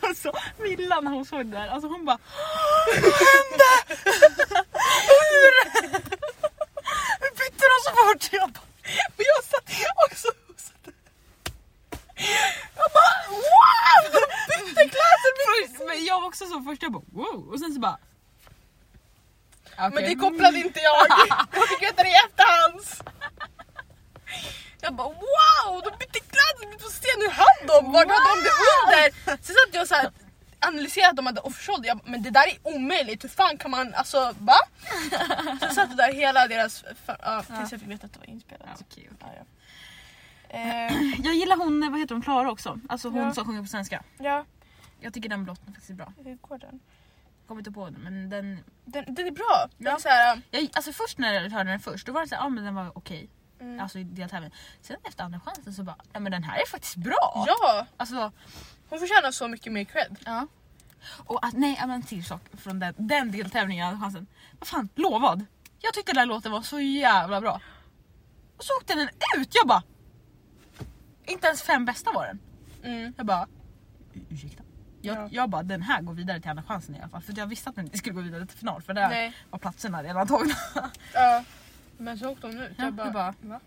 Speaker 3: Alltså Milla när hon såg det där, alltså hon bara (laughs) Vad hände? Hur? Hur bytte de så fort? Jag bara, och jag satt också och satt Jag bara wow! De bytte kläder mitt i Men jag var också så först, jag bara wow och sen så bara
Speaker 2: Men det kopplade inte (laughs) jag. Jag fick veta det i efterhands. Jag bara wow, de bytte kläder mitt på scenen. Hur hann de? Vart hade de det under? Sen satt jag och så här analyserade att de hade offshore. Jag bara, men det där är omöjligt. Hur fan kan man alltså va? Sen satt jag där hela deras... För, ja, tills jag fick veta att det var inspelat.
Speaker 3: okej,
Speaker 2: Ja, ja. Eh,
Speaker 3: Jag gillar hon, vad heter hon, Klara också. Alltså hon
Speaker 2: Ja.
Speaker 3: som sjunger på svenska.
Speaker 2: ja,
Speaker 3: Jag tycker den låten faktiskt är bra.
Speaker 2: hur går den?
Speaker 3: Kommer inte på den men den
Speaker 2: Den, den är bra. Den
Speaker 3: Ja.
Speaker 2: är så här,
Speaker 3: Jag, alltså först när jag hörde den först, då var det såhär, ja ah, men den var okej.
Speaker 2: Mm.
Speaker 3: Alltså i deltävlingen. Sen efter andra chansen så bara, ja men den här är faktiskt bra.
Speaker 2: ja,
Speaker 3: Alltså,
Speaker 2: hon förtjänar så mycket mer cred.
Speaker 3: ja. Och att, nej, ja, men en till sak från den, den deltävlingen, andra chansen. Vad fan, lovad. Jag tyckte den här låten var så jävla bra. Och så åkte den ut, jag bara. Inte ens fem bästa var den.
Speaker 2: Mm.
Speaker 3: Jag bara, "U- ursäkta. Jag,
Speaker 2: Ja.
Speaker 3: jag bara, den här går vidare till andra chansen i alla fall. För jag visste att den inte skulle gå vidare till final för där
Speaker 2: Nej.
Speaker 3: var platserna redan tagna. (laughs)
Speaker 2: Ja. Men så åkte hon ut.
Speaker 3: Ja,
Speaker 2: jag bara,
Speaker 3: jag bara,
Speaker 2: va?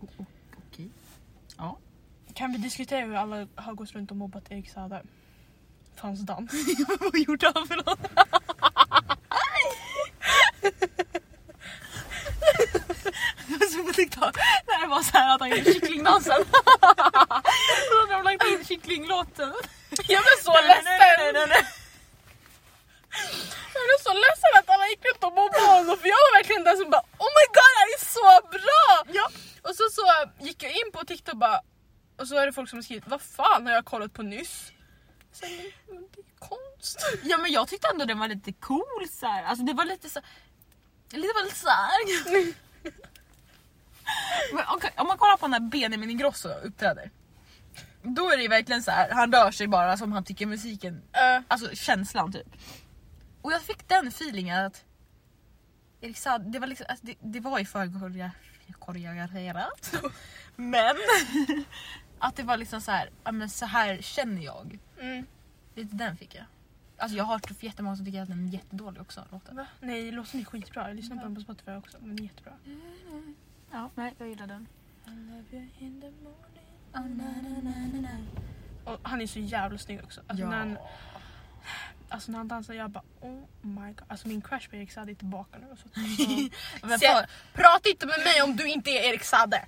Speaker 3: O- o- Okej.
Speaker 2: Kan vi diskutera hur alla har gått runt och mobbat Erik Saade? För hans dans.
Speaker 3: Vad gjorde han för något? Jag såg på TikTok när det var så här att han gjorde kycklingdansen. Då hade de lagt in kycklinglåten.
Speaker 2: (laughs) Jag blev så ledsen! Jag blev så ledsen att alla gick runt och mobbade honom för jag var verkligen den som bara Oh my god det här är så bra!
Speaker 3: Ja.
Speaker 2: Och så, så gick jag in på TikTok och bara Och så är det folk som har skrivit Vad fan har jag kollat på nyss? Sen, men det är konst.
Speaker 3: Ja men jag tyckte ändå den var lite cool så här. Alltså det var lite så... Det var lite så här. Men okej, om man kollar på när Benjamin Ingrosso uppträder. Då är det ju verkligen så här. han rör sig bara som han tycker musiken
Speaker 2: Eh,
Speaker 3: Alltså känslan typ. Och jag fick den feelingen att Erik Saade, det var liksom, alltså, det, det var ju (laughs) förkoreograferat. Men (laughs) att det var liksom så här, ja men så här känner jag.
Speaker 2: mm.
Speaker 3: Lite den fick jag. Alltså jag har hört jättemånga som tycker att den är jättedålig också, låten.
Speaker 2: Va? Nej låten är skitbra, jag lyssnar på den på Spotify också. Den är jättebra.
Speaker 3: Ja, nej jag gillar den. Ah,
Speaker 2: Och han är så jävla snygg också. Alltså, när han, alltså när han dansar jag bara oh my god. Alltså min crush på Erik Saade är tillbaka nu. (laughs) Alltså,
Speaker 3: Men
Speaker 2: Se-
Speaker 3: fan,
Speaker 2: Prata inte med mig om du inte är Erik Saade.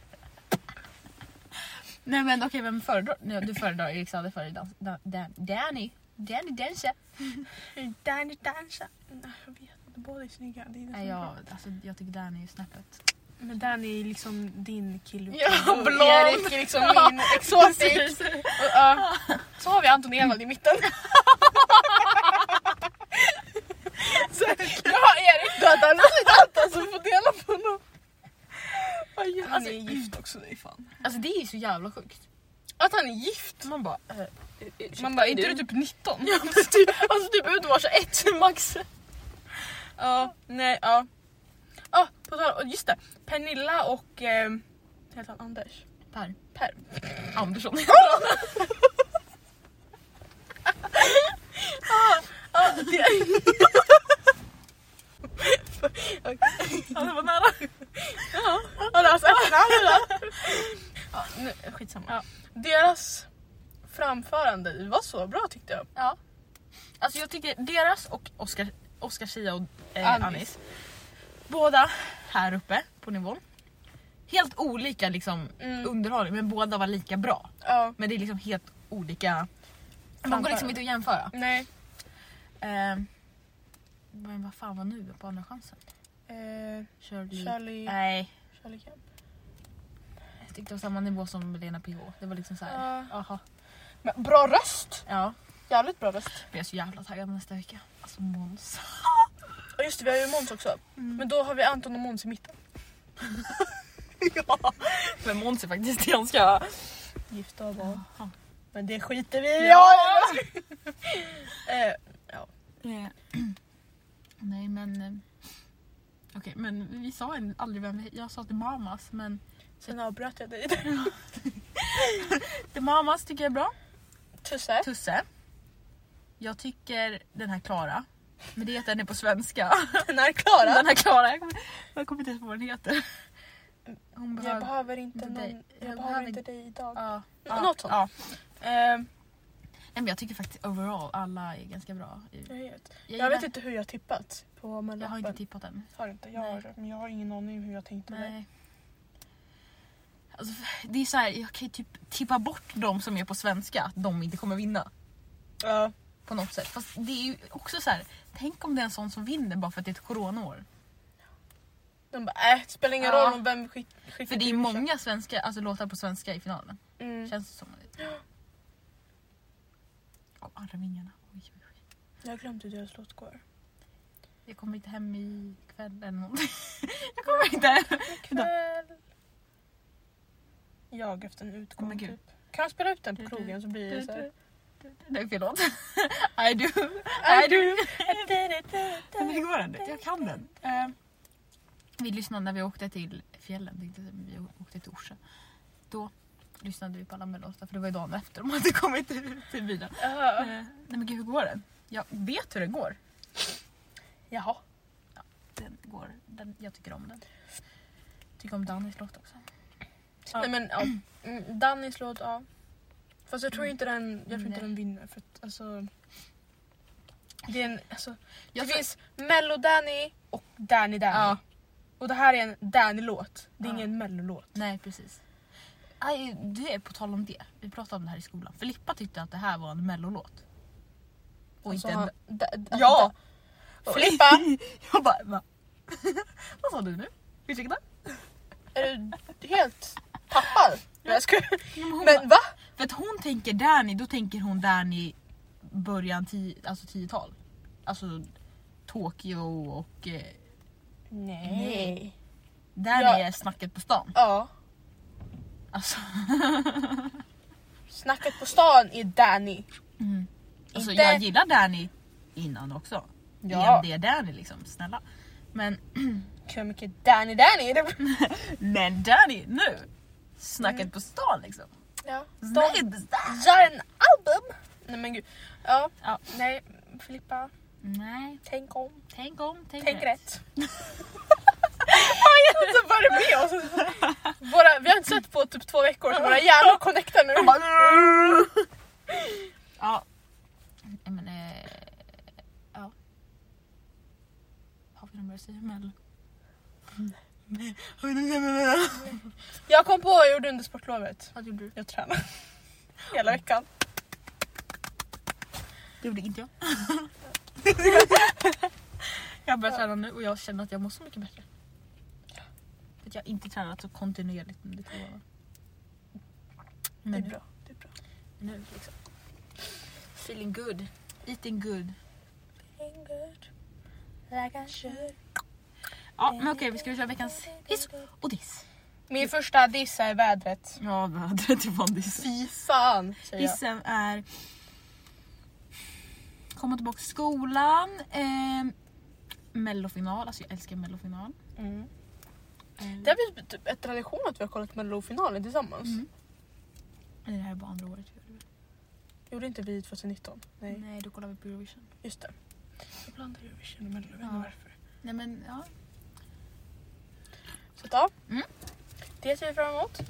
Speaker 3: nej men okej, vem föredrar? Nej, du föredrar Erik Saade före dans, dan, dan, Danny. Danny Denche.
Speaker 2: Danny dansa. Nej, jag vet inte, båda är snygga. Det är det som är
Speaker 3: Nej jag,
Speaker 2: bra.
Speaker 3: alltså, jag tycker Danny är snäppet.
Speaker 2: Men Danny är liksom din kille.
Speaker 3: Ja,
Speaker 2: Och
Speaker 3: blond.
Speaker 2: Erik är liksom min exotik.
Speaker 3: Precis.
Speaker 2: Och, ja. så har vi Anton Ewald i (laughs) mitten. så, jag har Erik, då hade han har Anton som får dela på honom. Han är gift också, det är fan.
Speaker 3: Alltså det är ju så jävla sjukt.
Speaker 2: Att han är gift?
Speaker 3: Man bara... eh,
Speaker 2: Man bara, är inte du typ 19? (laughs)
Speaker 3: Ja, men typ, alltså typ ut och var så ett max.
Speaker 2: Ja, nej, ja. Ja, på tal och just det. Pernilla och... Eh, heter han Anders?
Speaker 3: Per.
Speaker 2: Per. (laughs)
Speaker 3: Andersson.
Speaker 2: Ja, det...
Speaker 3: Ja, det var nära.
Speaker 2: Ja, det är alltså efternamn då. Ja, nu, skitsamma. Ja. Deras framförande det var så bra tyckte jag.
Speaker 3: Ja. Alltså jag tycker deras och Oscar, Oscar Schia och eh,
Speaker 2: Anis.
Speaker 3: Anis. Båda här uppe på nivån. Helt olika liksom
Speaker 2: Mm.
Speaker 3: underhållning men båda var lika bra.
Speaker 2: Ja.
Speaker 3: Men det är liksom helt olika. De går liksom inte att jämföra.
Speaker 2: Nej.
Speaker 3: Eh, men vad fan var nu på andra chansen?
Speaker 2: Eh,
Speaker 3: Shirley.
Speaker 2: Charlie...
Speaker 3: Nej.
Speaker 2: Charlie Camp.
Speaker 3: Jag tyckte det var samma nivå som Lena PH. Det var liksom så här.
Speaker 2: Ja.
Speaker 3: Jaha.
Speaker 2: Men bra röst!
Speaker 3: Ja.
Speaker 2: Jävligt bra röst.
Speaker 3: Jag är så jävla taggad nästa vecka. Alltså Måns.
Speaker 2: Och just det, vi har ju Måns också. Men då har vi Anton och Måns i mitten.
Speaker 3: ja. Men Måns är
Speaker 2: (laughs)
Speaker 3: faktiskt ganska...
Speaker 2: Gifta och barn.
Speaker 3: Jaha.
Speaker 2: Men det skiter vi i.
Speaker 3: Ja.
Speaker 2: eh,
Speaker 3: (clears throat) Nej men... eh, Okej Okej, men vi sa en- aldrig vem vi... Jag sa The Mamas, men
Speaker 2: Sen avbröt jag dig. (laughs)
Speaker 3: The Mamas tycker jag är bra.
Speaker 2: Tusse.
Speaker 3: Tusse. Jag tycker den här Klara. Men det är att den är på svenska.
Speaker 2: (laughs) Den är klara.
Speaker 3: Den här Klara, jag kommer, jag kommer inte ihåg vad hon heter. Hon
Speaker 2: Jag behöver inte
Speaker 3: Inte dig.
Speaker 2: någon.
Speaker 3: Jag
Speaker 2: Jag behöver
Speaker 3: behöver-
Speaker 2: inte dig idag.
Speaker 3: Ja,
Speaker 2: N- Något sånt.
Speaker 3: Ja.
Speaker 2: Ehm,
Speaker 3: Nej, men jag tycker faktiskt overall alla är ganska bra. Jag,
Speaker 2: jag vet.
Speaker 3: gillar-
Speaker 2: Jag vet inte hur jag tippat på
Speaker 3: jag har inte
Speaker 2: mellanlappen.
Speaker 3: tippat den.
Speaker 2: Har inte. Jag har, men jag har ingen aning om hur jag tänkte med
Speaker 3: Nej. Alltså, det är så här, jag kan ju typ tippa bort de som är på svenska att de inte kommer vinna.
Speaker 2: det. Ja.
Speaker 3: På något sätt. Fast det är ju också så här, tänk om det är en sån som vinner bara för att det är ett coronaår.
Speaker 2: De bara äh, det spelar ingen
Speaker 3: Ja.
Speaker 2: roll om vem skick, skickar
Speaker 3: För det är ju
Speaker 2: till mig.
Speaker 3: många svenska, alltså, låtar på svenska i finalen.
Speaker 2: Mm.
Speaker 3: Känns det som. Och Arvingarna. Oj, oj, oj.
Speaker 2: Jag har glömt hur deras låt går.
Speaker 3: Jag kommer inte hem ikväll eller någonting. (laughs) Jag kommer inte hem.
Speaker 2: Ikväll. Jag efter en
Speaker 3: Åh,
Speaker 2: utgång
Speaker 3: men gud.
Speaker 2: typ. Kan jag spela ut den på
Speaker 3: Du, du,
Speaker 2: krogen så blir det (laughs) såhär.
Speaker 3: Det är fel låt. (laughs) I do. I do. Nej, men (laughs) det
Speaker 2: Men
Speaker 3: går ändå. Jag kan den. Eh, vi lyssnade när vi åkte till fjällen, tänkte jag säga, men vi åkte till Orsa. Då lyssnade vi på alla mellolåtar för det var ju dagen efter de hade kommit ut till bilen. Eh,
Speaker 2: Ja.
Speaker 3: nej men gud, hur går den? Jag vet hur den går.
Speaker 2: Jaha.
Speaker 3: Den går. Den, jag tycker om den. Tycker om Dannys låt också. Ja.
Speaker 2: Nej men ja. Mm, Dannys låt, ja. Fast jag tror
Speaker 3: Mm.
Speaker 2: inte den, jag tror inte
Speaker 3: Nej.
Speaker 2: den vinner för att alltså. Det är en, alltså.
Speaker 3: Jag
Speaker 2: det
Speaker 3: tror-
Speaker 2: finns mello-Danny och Danny-Danny.
Speaker 3: Ja.
Speaker 2: Och det här är en Danny-låt. Det är
Speaker 3: Ja.
Speaker 2: ingen mellolåt.
Speaker 3: Nej precis. Aj, det är på tal om det. Vi pratade om det här i skolan. Filippa tyckte att det här var en mellolåt. Och
Speaker 2: Alltså,
Speaker 3: inte en...
Speaker 2: han- da- da-
Speaker 3: Ja!
Speaker 2: da- Filippa!
Speaker 3: (laughs) Jag bara va? (laughs) Vad sa du nu? Ursäkta?
Speaker 2: Är du helt tappad? Nej, jag skojar.
Speaker 3: Men, hon
Speaker 2: Men va?
Speaker 3: bara- för att hon tänker Danny, då tänker hon Danny början ti, alltså 10-tal. Alltså Tokyo och eh, Nej. Danny
Speaker 2: Ja.
Speaker 3: är snacket på stan.
Speaker 2: Ja.
Speaker 3: Alltså,
Speaker 2: Snacket på stan är Danny.
Speaker 3: mm. alltså
Speaker 2: Inte-
Speaker 3: jag gillar Danny innan också.
Speaker 2: Ja.
Speaker 3: Ja. Det är Danny liksom, snälla. Men,
Speaker 2: Hur mycket
Speaker 3: (laughs)
Speaker 2: Danny Danny?
Speaker 3: men Danny nu! Snacket på stan liksom.
Speaker 2: Ja.
Speaker 3: Snacket på stan.
Speaker 2: Gör en album! Nej men gud. Ja.
Speaker 3: Ja.
Speaker 2: Nej Filippa,
Speaker 3: Nej,
Speaker 2: tänk om.
Speaker 3: tänk om, tänk,
Speaker 2: Tänk (laughs) rätt. Oj, alltså vad är det med oss? Våra, vi har inte sett på typ två veckor så våra hjärnor connectar nu.
Speaker 3: Ja. Nej, Men, eh, ja. Har vi något mer att säga om eller? Har vi något mer att säga om eller?
Speaker 2: Jag kom på vad jag gjorde under sportlovet.
Speaker 3: Vad gjorde du?
Speaker 2: Jag tränade. Hela veckan.
Speaker 3: Det gjorde (laughs) inte jag. jag börjar träna nu och jag känner att jag mår så mycket bättre. För att jag har inte tränat så kontinuerligt under två år.
Speaker 2: Det är
Speaker 3: Men nu,
Speaker 2: bra. Det är bra.
Speaker 3: nu liksom. Feeling good. Eating good.
Speaker 2: Feeling good, like I should.
Speaker 3: Ja men okej vi ska köra veckans hiss och diss.
Speaker 2: Min första diss är vädret.
Speaker 3: Ja vädret var en diss.
Speaker 2: Fy fan säger jag.
Speaker 3: Hissen är komma tillbaka till skolan, ehm, mellofinal, alltså jag älskar mellofinal.
Speaker 2: Mm.
Speaker 3: Ehm,
Speaker 2: Det har blivit typ en tradition att vi har kollat Mellofinalen tillsammans.
Speaker 3: Mm. eller det här är bara andra året. vi gör det.
Speaker 2: Gjorde inte vi 2019? Nej,
Speaker 3: Nej då kollar vi på Eurovision.
Speaker 2: just det. Jag blandar Eurovision och Mello, jag vet inte
Speaker 3: Ja.
Speaker 2: varför.
Speaker 3: Nej men ja.
Speaker 2: Så att, ja.
Speaker 3: Mm.
Speaker 2: Det ser vi fram emot.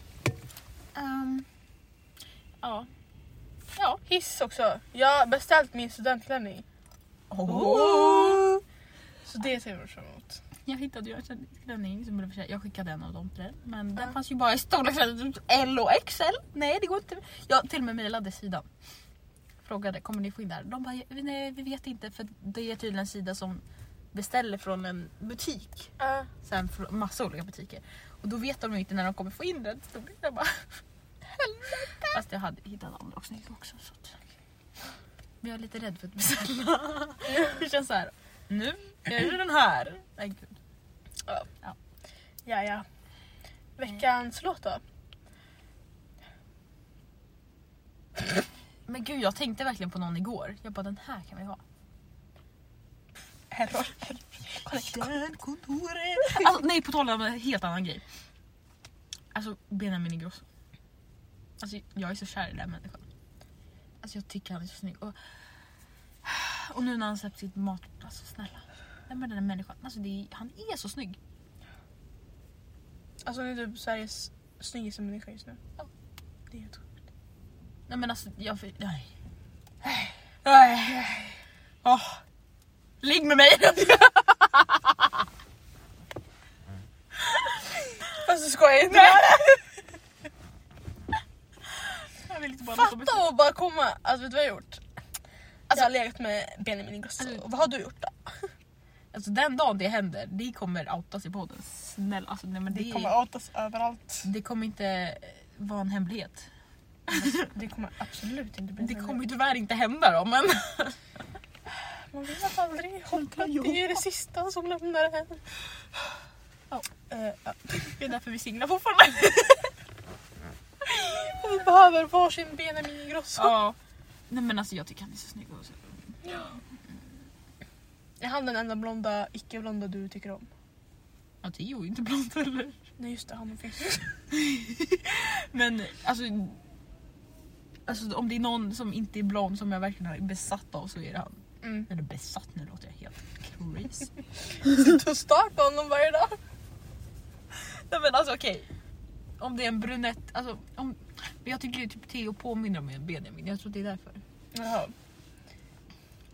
Speaker 3: Ehm, ja.
Speaker 2: Ja, hiss också. Jag har beställt min studentklänning. Så det ser vi fram emot.
Speaker 3: Jag hittade ju en klänning som blev försäljd. Jag skickade en av dem till dig. Men den
Speaker 2: Ja.
Speaker 3: fanns ju bara i storlek typ L och XL. Nej det går inte. Jag till och med mejlade sidan. Frågade kommer ni få in där? De bara nej vi vet inte för det är tydligen en sida som beställer från en butik.
Speaker 2: Uh,
Speaker 3: Sen från massa olika butiker. Och då vet de ju inte när de kommer få in den. Så då blir det bara (laughs) helvete. Fast jag hade hittat andra och snygga också. Så att... Men jag är lite rädd för att beställa. (laughs) det känns så här. Nu är ju den här. Nej gud.
Speaker 2: ja, ja. Veckans låt då?
Speaker 3: Men gud jag tänkte verkligen på någon igår. Jag bara den här kan vi ha.
Speaker 2: Error. Connect.
Speaker 3: Kontoret. Alltså, nej, på tal om en helt annan grej. Alltså Benjamin Ingrosso. Alltså jag är så kär i den här människan. Alltså jag tycker han är så snygg. Och, och nu när han släppt sitt mat... Alltså snälla. Vem är den här människan? Alltså det är, han är så snygg.
Speaker 2: Alltså han är typ Sveriges snyggaste människa just nu.
Speaker 3: Ja.
Speaker 2: Det är helt sjukt.
Speaker 3: Nej men alltså jag... Nej. Nej. Åh. Ligg med mig! (laughs)
Speaker 2: Fast du skojar inte.
Speaker 3: Jag vill inte bara något om
Speaker 2: Fatta att bara komma, alltså vet du vad jag har gjort? Alltså jag har legat med Benjamin Ingrosso,
Speaker 3: Alltså-
Speaker 2: och vad har du gjort då?
Speaker 3: Alltså den dagen det händer, det kommer outas i podden. Snälla alltså nej men det, det, kommer...
Speaker 2: outas överallt.
Speaker 3: inte eh, vara en hemlighet.
Speaker 2: Det kommer absolut inte bli
Speaker 3: Det
Speaker 2: en
Speaker 3: kommer ju tyvärr inte hända då men.
Speaker 2: Man vet aldrig. Hoppa, det är det sista som lämnar en. Ja, eh, ja.
Speaker 3: Det är därför vi singlar fortfarande.
Speaker 2: Vi behöver varsin Benjamin
Speaker 3: (laughs)
Speaker 2: Ingrosso.
Speaker 3: ja. Nej men alltså jag tycker han är så snygg också.
Speaker 2: Är han den enda blonda, icke-blonda du tycker om?
Speaker 3: Ja Theo är ju inte blond heller.
Speaker 2: Nej just det, han finns.
Speaker 3: Men alltså. Alltså om det är någon som inte är blond som jag verkligen är besatt av så är det han.
Speaker 2: (laughs) Mm.
Speaker 3: Eller besatt, nu låter jag helt crazy.
Speaker 2: Sitter och stör på honom varje dag.
Speaker 3: (laughs) Nej men alltså okej. Om det är en brunett, alltså om... Men jag tycker ju typ Theo påminner om en Benjamin, jag tror det är därför.
Speaker 2: Jaha.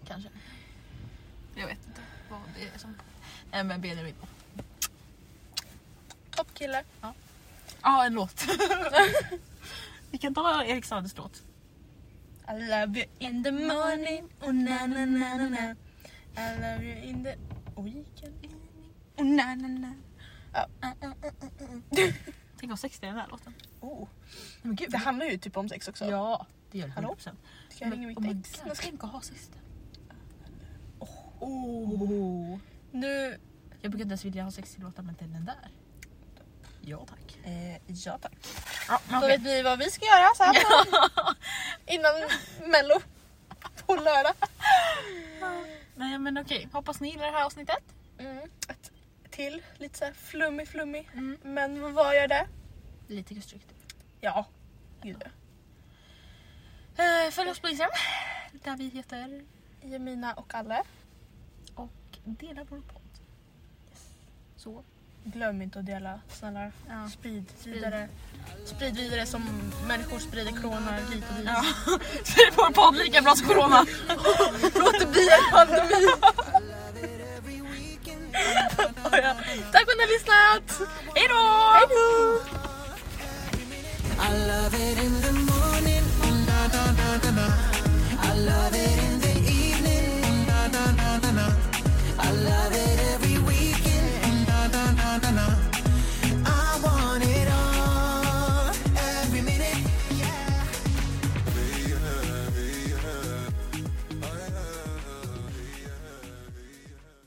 Speaker 3: Kanske. Jag vet inte vad det är som... Nej men Benjamin. Ja,
Speaker 2: Toppkille.
Speaker 3: ah, en låt. (laughs) Vi kan ta Erik Saades låt.
Speaker 2: (laughs) I love you in the morning, oh na na na na na I love you in the weekend, oh na na na Ah, Ja.
Speaker 3: Tänk om sex är den här låten.
Speaker 2: (laughs) Oh.
Speaker 3: Nej, men gud.
Speaker 2: ah, Det handlar ju typ om sex också.
Speaker 3: Ja, det gör det
Speaker 2: Hallå?
Speaker 3: 100%.
Speaker 2: Ska jag ringa mitt
Speaker 3: Men- oh my
Speaker 2: ex?
Speaker 3: God, Tänk att ha systern.
Speaker 2: Oh. Nu...
Speaker 3: Jag brukar inte ens vilja ha sex till låtar men till den där. Ja tack.
Speaker 2: Eh, ja tack.
Speaker 3: Ja, men
Speaker 2: Då
Speaker 3: okej.
Speaker 2: vet vi vad vi ska göra sen. (laughs) Innan mello. På lördag.
Speaker 3: Nej men okej, hoppas ni gillar det här avsnittet.
Speaker 2: Mm. Ett till lite såhär flummig flummig.
Speaker 3: Mm.
Speaker 2: Men vad gör det?
Speaker 3: Lite kustrykt.
Speaker 2: Ja. Gud ja.
Speaker 3: Eh, Följ oss på Instagram där vi heter
Speaker 2: Jemina och Alle.
Speaker 3: och dela vår podd. Så.
Speaker 2: Glöm inte att dela snälla.
Speaker 3: Ja.
Speaker 2: Sprid vidare. Sprid vidare som människor sprider corona hit och dit.
Speaker 3: ja. (laughs) Så är vår podd lika bra som corona.
Speaker 2: Låt det bli
Speaker 3: (laughs)
Speaker 2: en pandemi.
Speaker 3: Tack för att ni har lyssnat. Hej då!
Speaker 2: Hejdå!